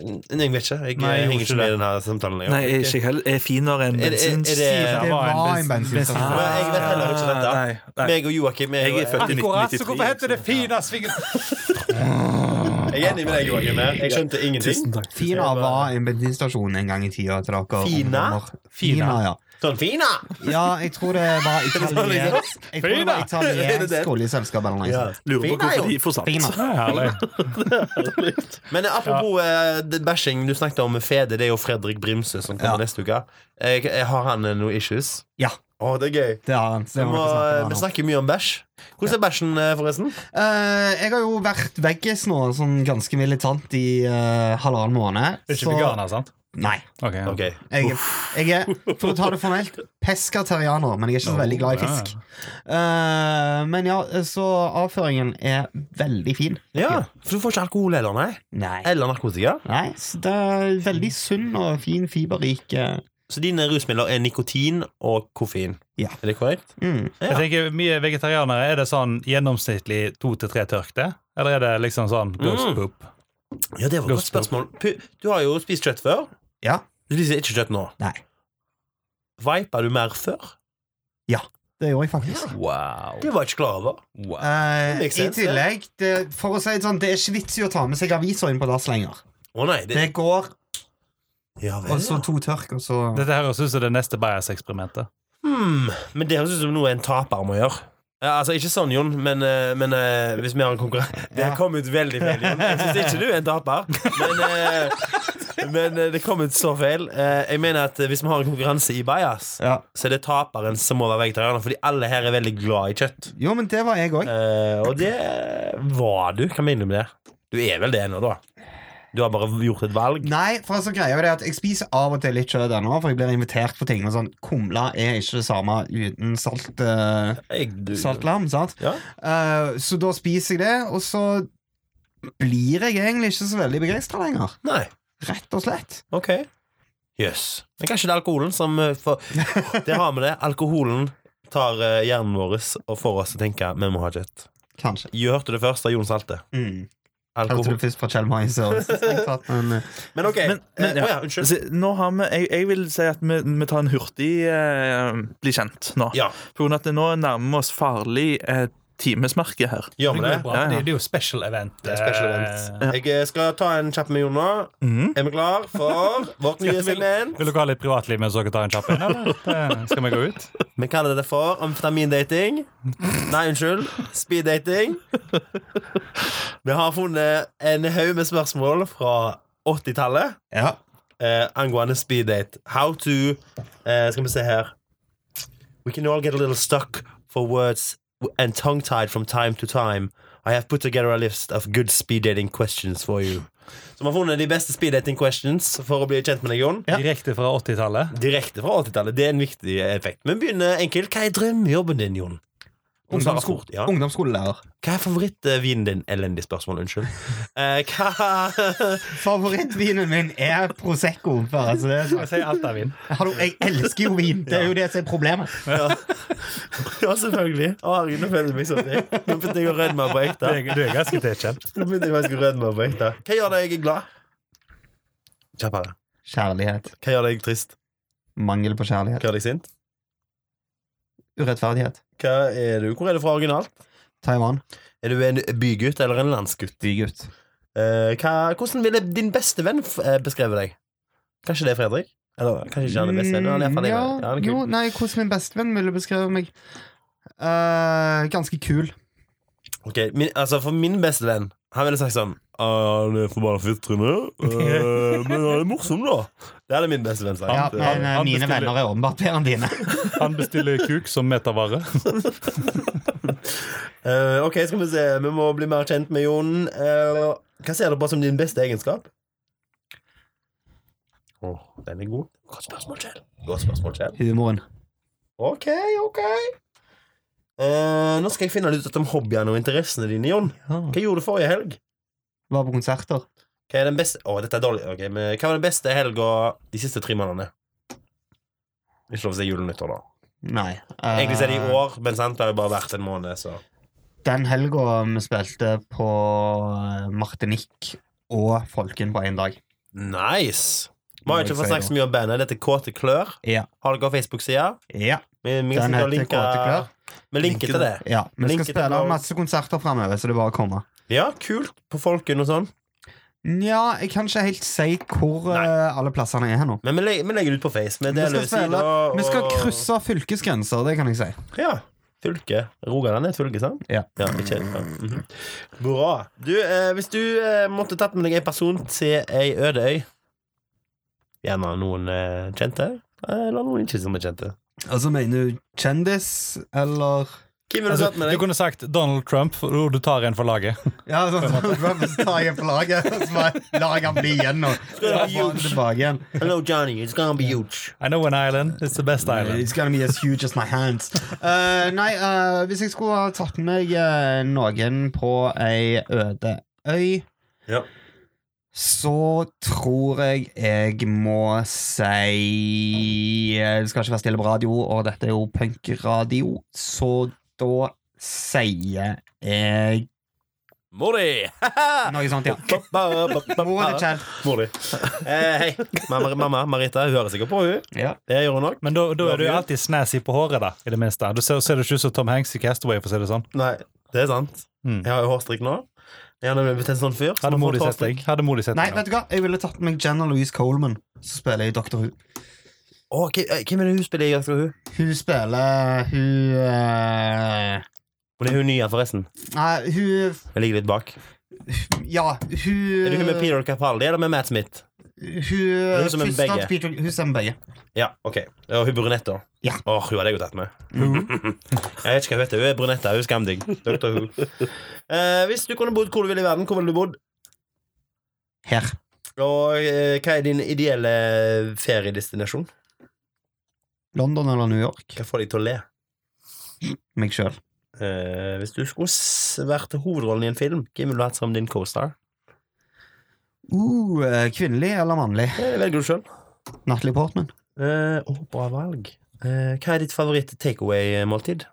N- Jeg vet ikke. Jeg
Nei, jeg
jeg
gjorde
henger
ikke
ikke med i
det.
denne samtalen. Jeg
Nei,
orker
jeg er ikke heller Er finere enn
Er det- er- er
bensin.
det-
Det var
Det
en
var en
bens-
bensinstasjon.
Ah. Jeg vet heller ikke dette.
Nei, nei.
Meg og Joakim er,
Jeg er født i
Akkurat, så
1993,
hvorfor heter det
så-
Finasvingen?
Jeg er enig med deg, Joakim. her. Jeg skjønte ingenting.
takk.
Fina var en bensinstasjon en gang i tida til dere.
Fina?
ungdommer.
Fina.
Fina, ja.
Sånn fina!
Ja, jeg tror det var italiensk Jeg tror det var
Er det det?
italiensk oljeselskap eller noe
Ja.
sånt.
Lurer på
Fina, jo.
hvorfor de får
Fina.
salt.
Det er herlig.
Men apropos eh, det bashing, du snakket om Fede. Det er jo Fredrik Brimse som kommer
Ja.
neste uke. Jeg, jeg har han eh, noen issues?
Ja.
Å, det er gøy.
Det har han. så
Vi,
det må
må, eh,
dere snakke om
vi
nå.
snakker mye om bæsj. Hvordan er bæsjen, eh, forresten?
Eh, jeg har jo vært veggis nå, sånn ganske militant, i eh, halvannen måned.
Det er ikke veganer, sant?
Nei.
Ok, ja.
Ok,
Jeg, jeg er, for å ta det formelt, pescatarianer, men jeg er ikke så veldig glad i fisk. Eh, men ja, så avføringen er veldig fin.
Ja, For du får ikke alkohol heller, nei?
Nei.
Eller narkotika?
Nei, så det er veldig sunn og fin, fiberrik eh,
Så dine rusmidler er nikotin og koffein.
Ja.
Er det korrekt?
mm.
Jeg tenker, Mye vegetarianere, er det sånn gjennomsnittlig to til tre tørkte? Eller er det liksom sånn ghost
Mm.
poop?
Ja, det var et godt spørsmål. Pu- Du har jo spist kjøtt før.
Ja.
Du spiser ikke kjøtt nå.
Nei.
Veipa du mer før?
Det gjorde jeg faktisk.
Wow.
Det var jeg ikke klar over.
Eh,
makes
I
sense, det.
tillegg, det, for å si det sånn, det er ikke vits i å ta med seg avisa inn på dass lenger.
Å nei, det,
Det går,
Ja vel.
og så to tørk, og så
Dette her høres ut som det neste Bajas-eksperimentet.
Hmm, men det høres ut som noe en taper må gjøre. Ja, altså, Ikke sånn, Jon, men, eh, men eh, hvis vi har en konkurranse Det
Ja.
kom ut veldig feil, Jon. Jeg syns ikke du er en taper, men, eh, men eh, det kom ut så feil. Eh, jeg mener at eh, Hvis vi har en konkurranse i Bajas,
ja.
så er det taperen som må være vegetarianer, fordi alle her er veldig glad i kjøtt.
Jo, men det var jeg òg.
Eh, og det var du. Hva mener du med det? Du er vel det ennå, da? Du har bare gjort et valg?
Nei, for altså greia er det at jeg spiser av og til litt kjøtt ennå, for jeg blir invitert på ting. Og sånn, Kumle er ikke det samme uten salt, eh,
Jeg, du,
saltlam, sant?
Ja.
Eh, så da spiser jeg det, og så blir jeg egentlig ikke så veldig begeistra lenger.
Nei.
Rett og slett.
Ok Jøss. Yes. Men kanskje det er alkoholen som eh, får Det har vi det. Alkoholen tar eh, hjernen vår og får oss til å tenke vi må ha kjøtt.
Kanskje.
Jeg hørte det først av Jon Salte.
Mm. Hørte
Alkohol.
du først fra Kjell Mai, så strengt tatt, men eh,
Men ok.
Men- men,
eh,
ja.
å ja, unnskyld.
Så Altså, Nå har vi, jeg, jeg vil si at vi, vi tar en hurtig eh, bli kjent nå.
Ja,
For at nå nærmer vi oss farlig eh, timesmerke her.
gjør
Det, går
vi det?
jo bra.
Ja, ja.
Det, det er jo special event.
Det er special event.
Eh,
Jeg eh, skal ta en kjapp med Jon nå.
Mhm.
Er vi klar for vårt nye
Vil-
segment?
Vil dere ha litt privatliv mens dere tar en kjapp en? eller? Det- Skal vi gå ut?
Vi kaller det for amfetamindating. Nei, unnskyld. Speeddating. Vi har funnet en haug med spørsmål fra 80-tallet.
ja.
eh, angående speeddate. How to eh, Skal vi se her We can all get a little stuck for words and tongue-tied from time to time. I have put together a list of good speed dating questions for you. Så vi har funnet de beste speed dating questions for å bli kjent med deg, Jon.
Ja.
Direkte fra 80-tallet.
Direkte fra 80-tallet. Det er en viktig effekt. Men begynner enkelt. Hva er drømmejobben din, Jon? Du svarer
Ungdomssko-
fort, ja.
Ungdomsskolelærer.
Hva er favorittvinen din? Elendig spørsmål, unnskyld. Eh, hva
Favorittvinen min er Prosecco. Bare, altså, det er sånn.
Jeg sier alt er vin.
Hallo, jeg elsker jo vin! Det er jo det som er problemet.
Ja, selvfølgelig. Å, herregud, nå føler jeg meg så teit. Nå begynte jeg å rødme
Du
på ekte.
er, du er ganske tilkjent.
Nå begynte jeg faktisk å rødme på ekte. Hva gjør deg glad? Kjappere.
Kjærlighet.
Hva gjør deg trist?
Mangel på kjærlighet.
Hva gjør deg sint?
Urettferdighet.
Hva er du? Hvor er du fra originalt?
Taiwan.
Er du en bygutt eller en landsgutt?
Bygutt.
Eh, hva, hvordan ville din beste venn f- eh, beskrevet deg? Kanskje det er Fredrik? Eller kanskje ikke han er beste venn? Han er iallfall
Mm, ja,
ja, han er
jo,
kul.
nei, hvordan min bestevenn ville beskrevet meg Eh, Ganske kul.
Ok, min, altså For min beste venn Han ville sagt sånn «Ah, Han er forbanna fittryne, eh, men han er morsom, da. Det hadde min beste venn sagt.
Ja,
Eh,
men eh,
han
mine
bestiller-
venner er åpenbart bedre enn dine.
Han bestiller kuk som metervare.
Eh, ok, skal vi se. Vi må bli mer kjent med Jon. Eh, hva ser du på som din beste egenskap? Åh, den er god. Godt spørsmål, Kjell. Godt spørsmål, Kjell.
Humoren.
Ok, ok. Eh, nå skal jeg finne ut om hobbyene og interessene dine, Jon. Hva gjorde du forrige helg?
Var på konserter.
Hva er den beste Åh, dette er dårlig. Ok, men hva var den beste helga de siste tre månedene? Ikke lov å si jul og nyttår, da.
Nei. Eh,
Egentlig så er det i år, men sant, det har jo bare vært en måned, så
Den helga vi spilte på eh, Martinique og Folken på én dag.
Nice! Vi har jo ikke
Må jeg
fått
si
snakket så mye om bandet. Dette er Kåte klør.
Ja.
Har dere Facebook-side?
Ja,
Vi, vi,
den
kan
heter
linke-
Kåte klør.
vi linker til det.
Ja, vi
Linker
skal
til
spille
blogg.
masse konserter framover, så det er bare å komme.
Ja, kult. På Folken og sånn.
Nja, jeg kan ikke helt si hvor eh, alle plassene er her nå.
Men vi, le- vi legger det ut på Face. Vi
skal
deler ut
spille-
sider. og-
Vi skal krysse fylkesgrenser, det kan jeg si.
Ja. Fylke. Rogaland er et fylke, sant?
Ja.
ikke, ja. Mhm. Bra. Du, eh, hvis du eh, måtte tatt med deg en person til ei øde øy Gjerne noen eh, kjente, eller noen ikke som er kjente.
Altså, mener du kjendis, eller
Hvem ville du
Altså,
tatt med
du
deg?
kunne sagt Donald Trump, og du tar en for laget.
Ja, sånn som Rubbers tar igjen på laget, og så bare lar jeg han bli igjen nå.
det
Så får
være
han tilbake igjen.
Hello, Johnny. It's gonna be huge.
I know an island. It's the best island.
It's gonna be as huge as my hands. Eh, nei, eh, hvis jeg skulle ha tatt med meg eh, noen på ei øde øy,
Ja.
så tror jeg jeg må si eh, Det skal ikke være stille på radio, og dette er jo punkradio, så da sier jeg
Mori!
noe sånt, ja. Moren til
Mori.
Kjell.
Eh, hei. Mamma, mamma Marita, hun hører sikkert på, hun.
Ja.
Det gjør hun nok.
Men da, da er du jo alltid snazzy på håret, da, i det minste. Du ser, ser du ikke ut som Tom Hanks i Castaway, for å si det sånn.
Nei, det er sant.
Mm.
Jeg har jo hårstrikk nå. Jeg har nemlig blitt en sånn fyr. som
Hadde
har
mor
fått
de sett deg.
hårstrikk.
Hadde mor de sett
Nei,
deg.
vet du hva? Jeg ville tatt med Jenna Louise Coleman, som spiller i Doctor Who.
Å, hvem- eh, hvem er det hun spiller i? Jack og hun?
Hun spiller Hun eh,
Hun er hun nye, forresten.
Nei, hun
Jeg ligger litt bak.
Ja, hun
Er det hun med Peter Capaldi eller med Matt Smith?
Hun,
hun som er
første
begge?
at Peter, hun som er begge.
Ja, ok. Og hun brunette.
Ja.
Åh, hun hadde jeg jo tatt med. Mm. jeg vet ikke hva hun heter. Hun er brunette. Hun er skamdigg. Dr. Who. Eh, hvis du kunne bodd hvor du ville i verden, hvor ville du bodd?
Her.
Og eh, hva er din ideelle feriedestinasjon?
London eller New York.
Hva får deg til å le?
Meg sjøl.
Eh, hvis du skulle s- vært hovedrollen i en film, hvem ville du hatt som din co-star?
Uh, eh, kvinnelig eller mannlig?
Det Eh, velger du sjøl.
Natalie Portman.
Eh, Å, bra valg. Eh, hva er ditt favoritt takeaway-måltid?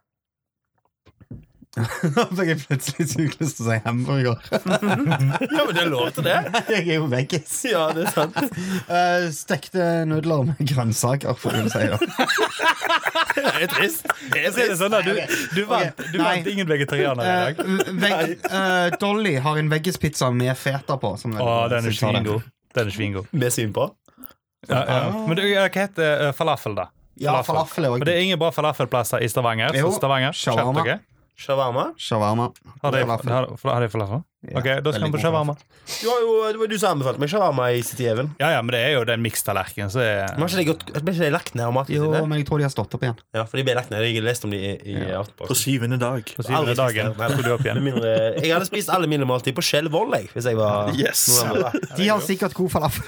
Da fikk jeg plutselig sykt lyst til å si hamburger.
ja, men det er lov til det.
Jeg er jo veggis.
Ja, det er sant.
Eh, stekte nudler med grønnsaker, får du si. da.
Det er trist. Det er
Si det sånn, da. Du, du vant, du
Nei.
vant ingen vegetarianere i
Eh,
dag.
vegg, eh, Dolly har en veggispizza med feta på. Som
Å, den er svingod. Den er svingod.
Med syn på.
Ja, ja. Men du, hva heter eh, falafel, da?
Ja, falafel
For
er òg
det er ingen bra falafelplasser i Stavanger.
Jo,
Så Stavanger, skjerp
shawarma.
dere.
Shawarma.
shawarma.
Har de,
Falafel.
har, har de falafel?
Ja,
ok, da skal
veldig
vi på
god
shawarma.
Du har jo, det var jo du som anbefalte meg shawarma i City Even.
Ja, ja, men det er jo den mikstallerkenen, så er
Men har ikke det gått- Ble ikke det lagt ned av
Jo,
Mattilsynet?
men jeg tror de har stått opp igjen.
Ja, for de ble lagt ned. Jeg leste om de i, i
På
Aftenposten.
syvende dag.
på syvende
Aldri
dagen
spist det.
tok du opp
Med
igjen.
mindre- Jeg hadde spist alle mine måltid på Skjell Voll, jeg, hvis jeg var
Yes.
noen andre.
De har sikkert god falafel.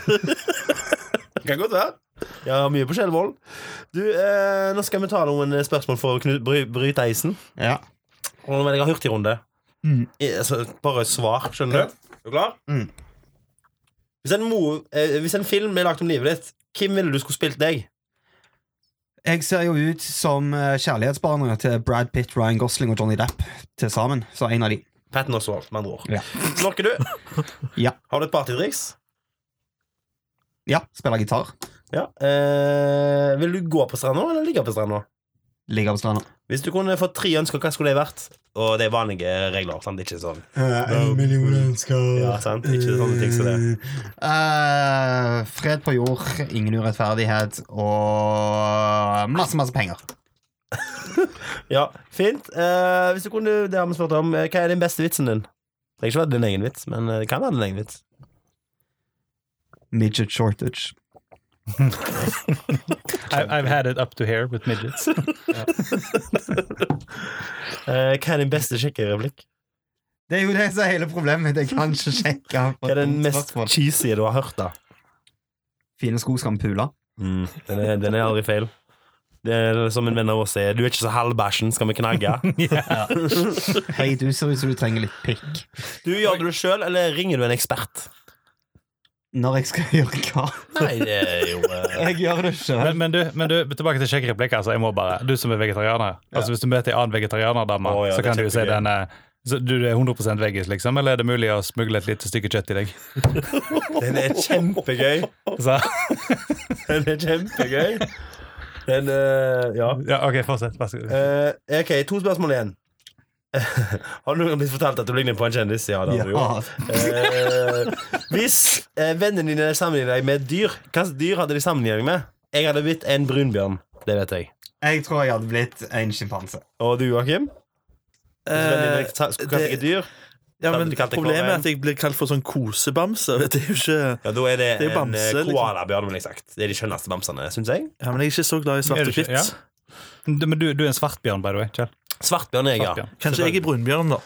Kan godt være. Jeg har mye på Skjellvoll. Du, eh, nå skal vi ta noen spørsmål for å knu, bry, bryte isen.
Ja.
Og nå vil jeg ha hurtigrunde.
Mm.
I- altså, bare svar, skjønner du? Er du klar?
Mm.
Hvis, en mo- eh, hvis en film ble lagt om livet ditt, hvem ville du skulle spilt deg?
Jeg ser jo ut som eh, kjærlighetsbarna til Brad Pitt, Ryan Gosling og Johnny Depp til sammen. Så en av de.
Patten Oswald, med andre ord.
Ja.
Snorker du?
Ja.
Har du et partytriks?
Ja, spiller gitar.
Ja. Eh, vil du gå på stranda, eller ligge på stranda?
Ligger på stranda.
Hvis du kunne fått tre ønsker, hva skulle det vært? Og det er vanlige regler. sant? Ikke sånn
Eh, En million ønsker. Eh.
Ja, sant? Ikke sånne ting som det.
fred på jord, ingen urettferdighet og masse, masse penger.
Ja, fint. Eh, hvis du kunne, det har vi spurt om, eh, hva er den beste vitsen din? Det er ikke vært din egen vits, men eh, det kan være din egen vits.
Midget shortage.
I, I've had it up to here with midgets.
Eh, hva er din beste sjekkereplikk?
Det er jo det som er hele problemet mitt. Jeg kan ikke sjekke. på
Hva er den
et
mest
spørsmål.
cheesy du har hørt, da?
Fine sko skal vi pule.
Mm. Den, er, den er aldri feil. Det er som en venn av oss sier, du er ikke så halvbæsjen, skal vi knagge?
Hei, du ser ut som du trenger litt pikk.
Du, Gjør du det sjøl, eller ringer du en ekspert?
Når jeg skal gjøre hva?
Nei, det er jo eh,
Jeg gjør det sjøl.
Men, men, du, men du, tilbake til sjekkereplikker. Altså, jeg må bare, du som er vegetarianer. Altså, Hvis du møter en annen vegetarianerdame,
Å, ja,
så
det
kan
er
du jo si
kjempegøy.
den eh, så du er 100 veggis, liksom? Eller er det mulig å smugle et lite stykke kjøtt i deg?
Den er kjempegøy.
Så,
Den er kjempegøy. Den eh, Ja.
ja, OK, fortsett. Vær så god.
Eh, OK, to spørsmål igjen. har du noen gang blitt fortalt at du ligner på en kjendis? Ja, det har du jo.
Ja.
Eh, hvis eh, vennene dine sammenligner deg med et dyr, hva slags dyr hadde de sammenlignet deg med? Jeg hadde blitt en brunbjørn. Det vet jeg.
Jeg tror jeg hadde blitt en sjimpanse.
Og du, Joakim? Hvis vennene dine sa- skulle kalt deg
det-
et dyr,
Eh, Ja,
Da
men
blir du kalt en
Problemet er
koala.
at jeg blir kalt for sånn kosebamse. og Det er jo ikke
ja, da er det,
Det er jo
en
bamse,
eh,
liksom.
koalabjørn, vil jeg sagt. Det er de skjønneste bamsene, syns jeg.
Ja, men jeg er ikke så glad i
Er
svart
du
og
ikke-
hvitt.
ja. Du- Men du, du er en svartbjørn, by the way. Kjell.
Svartbjørn er jeg, ja.
Svartbjørn.
Kanskje jeg er brunbjørn, da.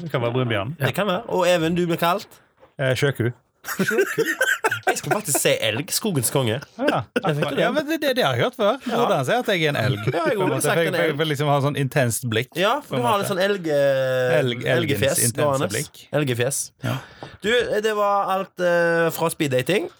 Du kan være brunbjørn.
Det kan være. Og Even, du blir kalt?
Eh, sjøku.
Jeg skulle faktisk si elg. Skogens konge.
Ah, Ja, ja men det, det, det har jeg hørt før. Hvordan sier at jeg er en elg?
Ja, jeg
På en
har
måte,
sagt
for jeg-
en
for Jeg
elg.
vil liksom ha sånn intenst blikk.
Ja, for
På en
du har
måte.
litt sånn elg, eh,
Elg- elgens
elgefjes
intense
gående.
blikk.
Elgefjes.
Ja.
Du, det var alt eh, fra speeddating.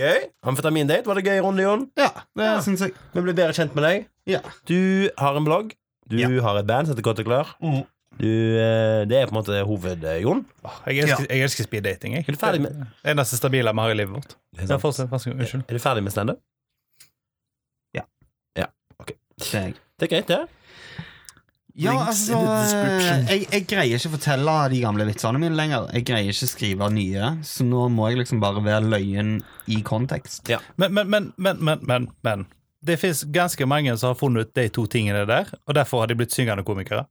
Gøy. Amfetamindate. Var det gøy runde, Jon?
Ja, det syns jeg.
Vi ble bedre kjent med deg.
Ja.
Du har en blogg. Du
Ja.
har et band som heter Godt og klør.
Mm.
Mhm.
Du, eh, det er på en måte hoved, eh, Jon.
Jeg elsker, jeg elsker speeddating. jeg.
Er du ferdig med-
Det er det eneste stabile vi har i livet vårt.
er sant.
Ja, fortsett, vær så god. Unnskyld.
Er du ferdig med standup?
Det er jeg.
Det er greit, det.
Ja,
Links in
altså
the description.
jeg, jeg greier ikke å fortelle de gamle vitsene mine lenger. Jeg greier ikke å skrive nye, så nå må jeg liksom bare være løyen i kontekst.
Men, men, men, men, men, men, men. Det fins ganske mange som har funnet ut de to tingene der, og derfor har de blitt syngende komikere.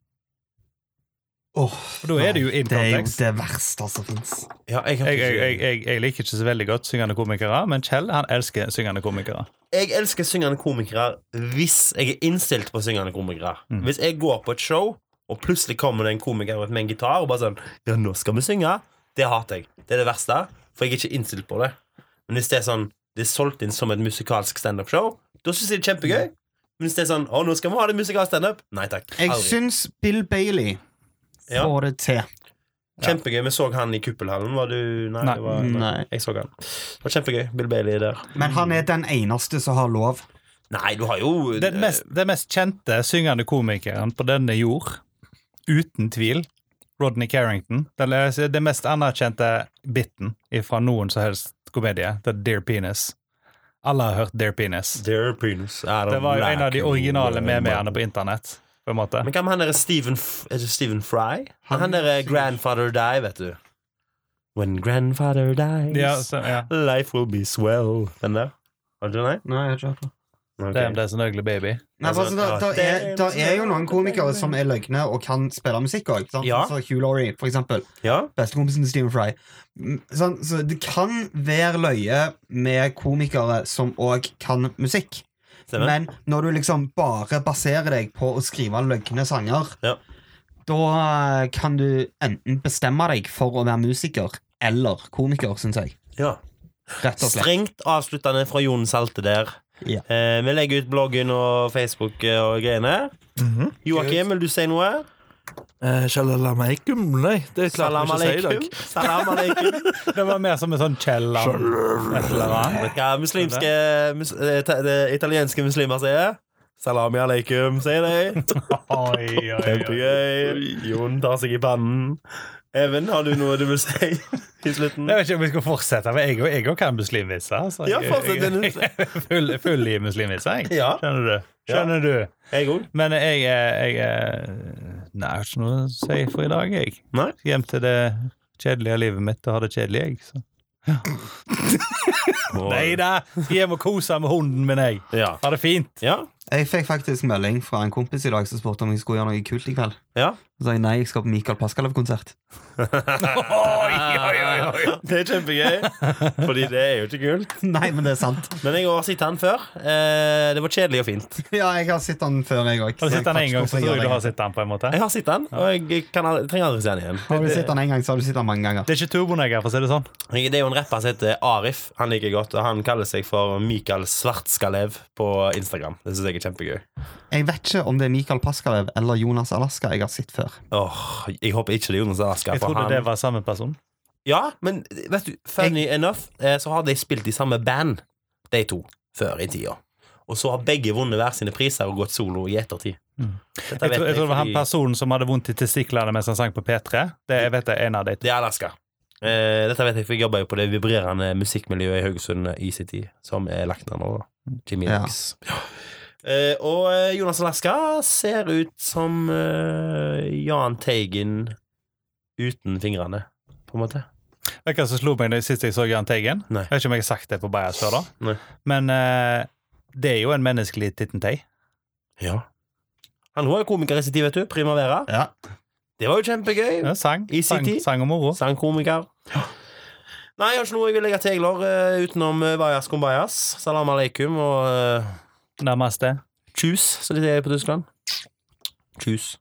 Åh,
For da er det jo in
det er jo
context.
det verste som fins.
Ja, jeg,
Jeg, jeg, jeg, jeg, jeg liker ikke så veldig godt syngende komikere, men Kjell han elsker syngende komikere.
jeg elsker syngende komikere hvis jeg er innstilt på syngende komikere.
Mm.
Hvis jeg går på et show, og plutselig kommer det en komiker ut med en gitar og bare sånn Ja, nå skal vi synge. Det hater jeg. Det er det verste, for jeg er ikke innstilt på det. Men hvis det er sånn Det er solgt inn som et musikalsk standup-show, da syns jeg det er kjempegøy.
Mm.
Men hvis det er sånn Å, nå skal vi ha det musikalsk standup. Nei takk.
Jeg
Aldri.
syns Bill Bailey
Ja.
får det til.
Kjempegøy. Vi så han i Kuppelhallen. Var du Nei.
Nei.
Det var,
Nei.
Jeg så han. Det var kjempegøy. Bill Bailey der.
Men han er den eneste som har lov.
Nei, du har jo
Den mest, den mest kjente syngende komikeren på denne jord, uten tvil, Rodney Carrington. Den, er- den mest anerkjente biten fra noen som helst komedie, The Dear Penis. Alle har hørt Dear Penis.
Their penis. I don't
Det var jo en av de
like
originale
you.
memeene på internett. På en måte.
Men hva med han derre Stephen F- Er det Stephen Fry? Han, derre Grandfather Die, vet du. When grandfather dies,
Ja, så, ja.
life will be swell. Den der. Har du den?
Nei, jeg har ikke hørt det.
Ok.
Damn, there's an sånn ugly baby.
Nei, for altså, da, da, er, da er jo noen komikere som er løgne og kan spille musikk òg.
Ja.
Så Hugh Laurie, for eksempel.
Ja?
Bestekompisen til Stephen Fry. Mm, Sånn, så det kan være løye med komikere som òg kan musikk.
Stemmer.
Men når du liksom bare baserer deg på å skrive løgne sanger,
Ja.
da eh, kan du enten bestemme deg for å være musiker eller komiker, syns jeg.
ja.
Rett og slett.
Strengt avsluttende fra Jon Salte der.
Ja.
Eh, vi legger ut bloggen og Facebook eh, og greiene.
Mhm.
Joakim, vil du si noe?
Eh, Shalalamaikum? Nei, det klarer
Salam
vi ikke å si i
aleikum.
dag.
Salam aleikum.
Det var mer som en sånn Kjelland. et eller annet.
Hva muslimske mus, eh, ta- det italienske muslimer sier? Salami aleikum, sier de.
Oi, oi, oi.
Kjempegøy. Jon tar seg i pannen. Even, har du noe du vil si i slutten?
Jeg vet ikke om vi skal fortsette, men jeg òg- jeg òg kan muslimvitser. altså.
Ja,
Jeg-
fortsett,
jeg-
Dennis.
jeg er Full, full i muslimvitser, jeg.
Ja.
Skjønner du? Skjønner du?
Jeg òg.
Men jeg, eh, jeg eh, Nei, jeg har ikke noe å si for i dag, jeg.
Nei.
Skal Hjem til det kjedelige livet mitt og ha det kjedelig, jeg. Så. Nei da! Skal hjem og kose med hunden min, jeg.
Ja.
Ha det fint.
ja.
Jeg fikk faktisk melding fra en kompis i dag som spurte om jeg skulle gjøre noe kult i kveld.
Ja.
Så sa jeg nei, jeg skal på Mikael Paskalev-konsert.
Oi, oi, oi,
Det er kjempegøy, Fordi det er jo ikke kult.
Nei, men det er sant.
Men jeg har sett den før. Eh, det var kjedelig og fint.
Ja, jeg har sett den før, jeg òg.
Har du sett den en gang, så tror jeg du har sett den. på en måte
Jeg har sett den, og jeg kan, aldri- trenger aldri se den igjen.
Har du sett den en gang, så har du sett den mange ganger.
Det er ikke turbonegger, for å si det sånn.
Jeg- Det er jo en rapper som heter Arif. Han liker jeg godt, og han kaller seg for Mikael Svartskalev på Instagram. Det syns jeg er kjempegøy.
Jeg vet ikke om det er Mikael Paskalev eller Jonas Alaska jeg har sett før.
Åh, jeg håper ikke det er Jonas Alaska.
Jeg
for
trodde
han-
det var samme person.
Ja, men vet du, funny enough, eh, så har de spilt i samme band, de to, før i tida. Og så har begge vunnet hver sine priser og gått solo i ettertid.
Mm. Jeg
Dette vet
tror, jeg tror det var han
fordi-
personen som hadde vondt i testiklene mens han sang på P3. Det jeg vet jeg er en av de to.
Det er Alaska. Eh, dette vet jeg, for jeg jobber jo på det vibrerende musikkmiljøet i Haugesund eh, ICT, som er lagt ned nå, da. Jimmy
Ja.
Hendrix. Ja. Eh, og eh, Jonas Alaska ser ut som eh, Jahn Teigen uten fingrene, på en måte.
Vet du hva som slo meg da sist jeg så Jahn Teigen?
Nei.
Jeg vet ikke om jeg har sagt det på Bajas før, da.
Nei.
Men eh, det er jo en menneskelig tittentei.
Ja. Han var jo komiker i sin tid, vet du. Primavera.
Ja.
Det var jo kjempegøy.
Ja, sang.
I sin
sang,
tid.
sang og moro.
Sangkomiker. Nei, jeg har ikke noe jeg vil legge til, Eglar, eh, utenom eh, Vajas Kumbayas. Salam aleikum og eh,
Nærmest det.
Tjus, som de sier på Tyskland. Tjus.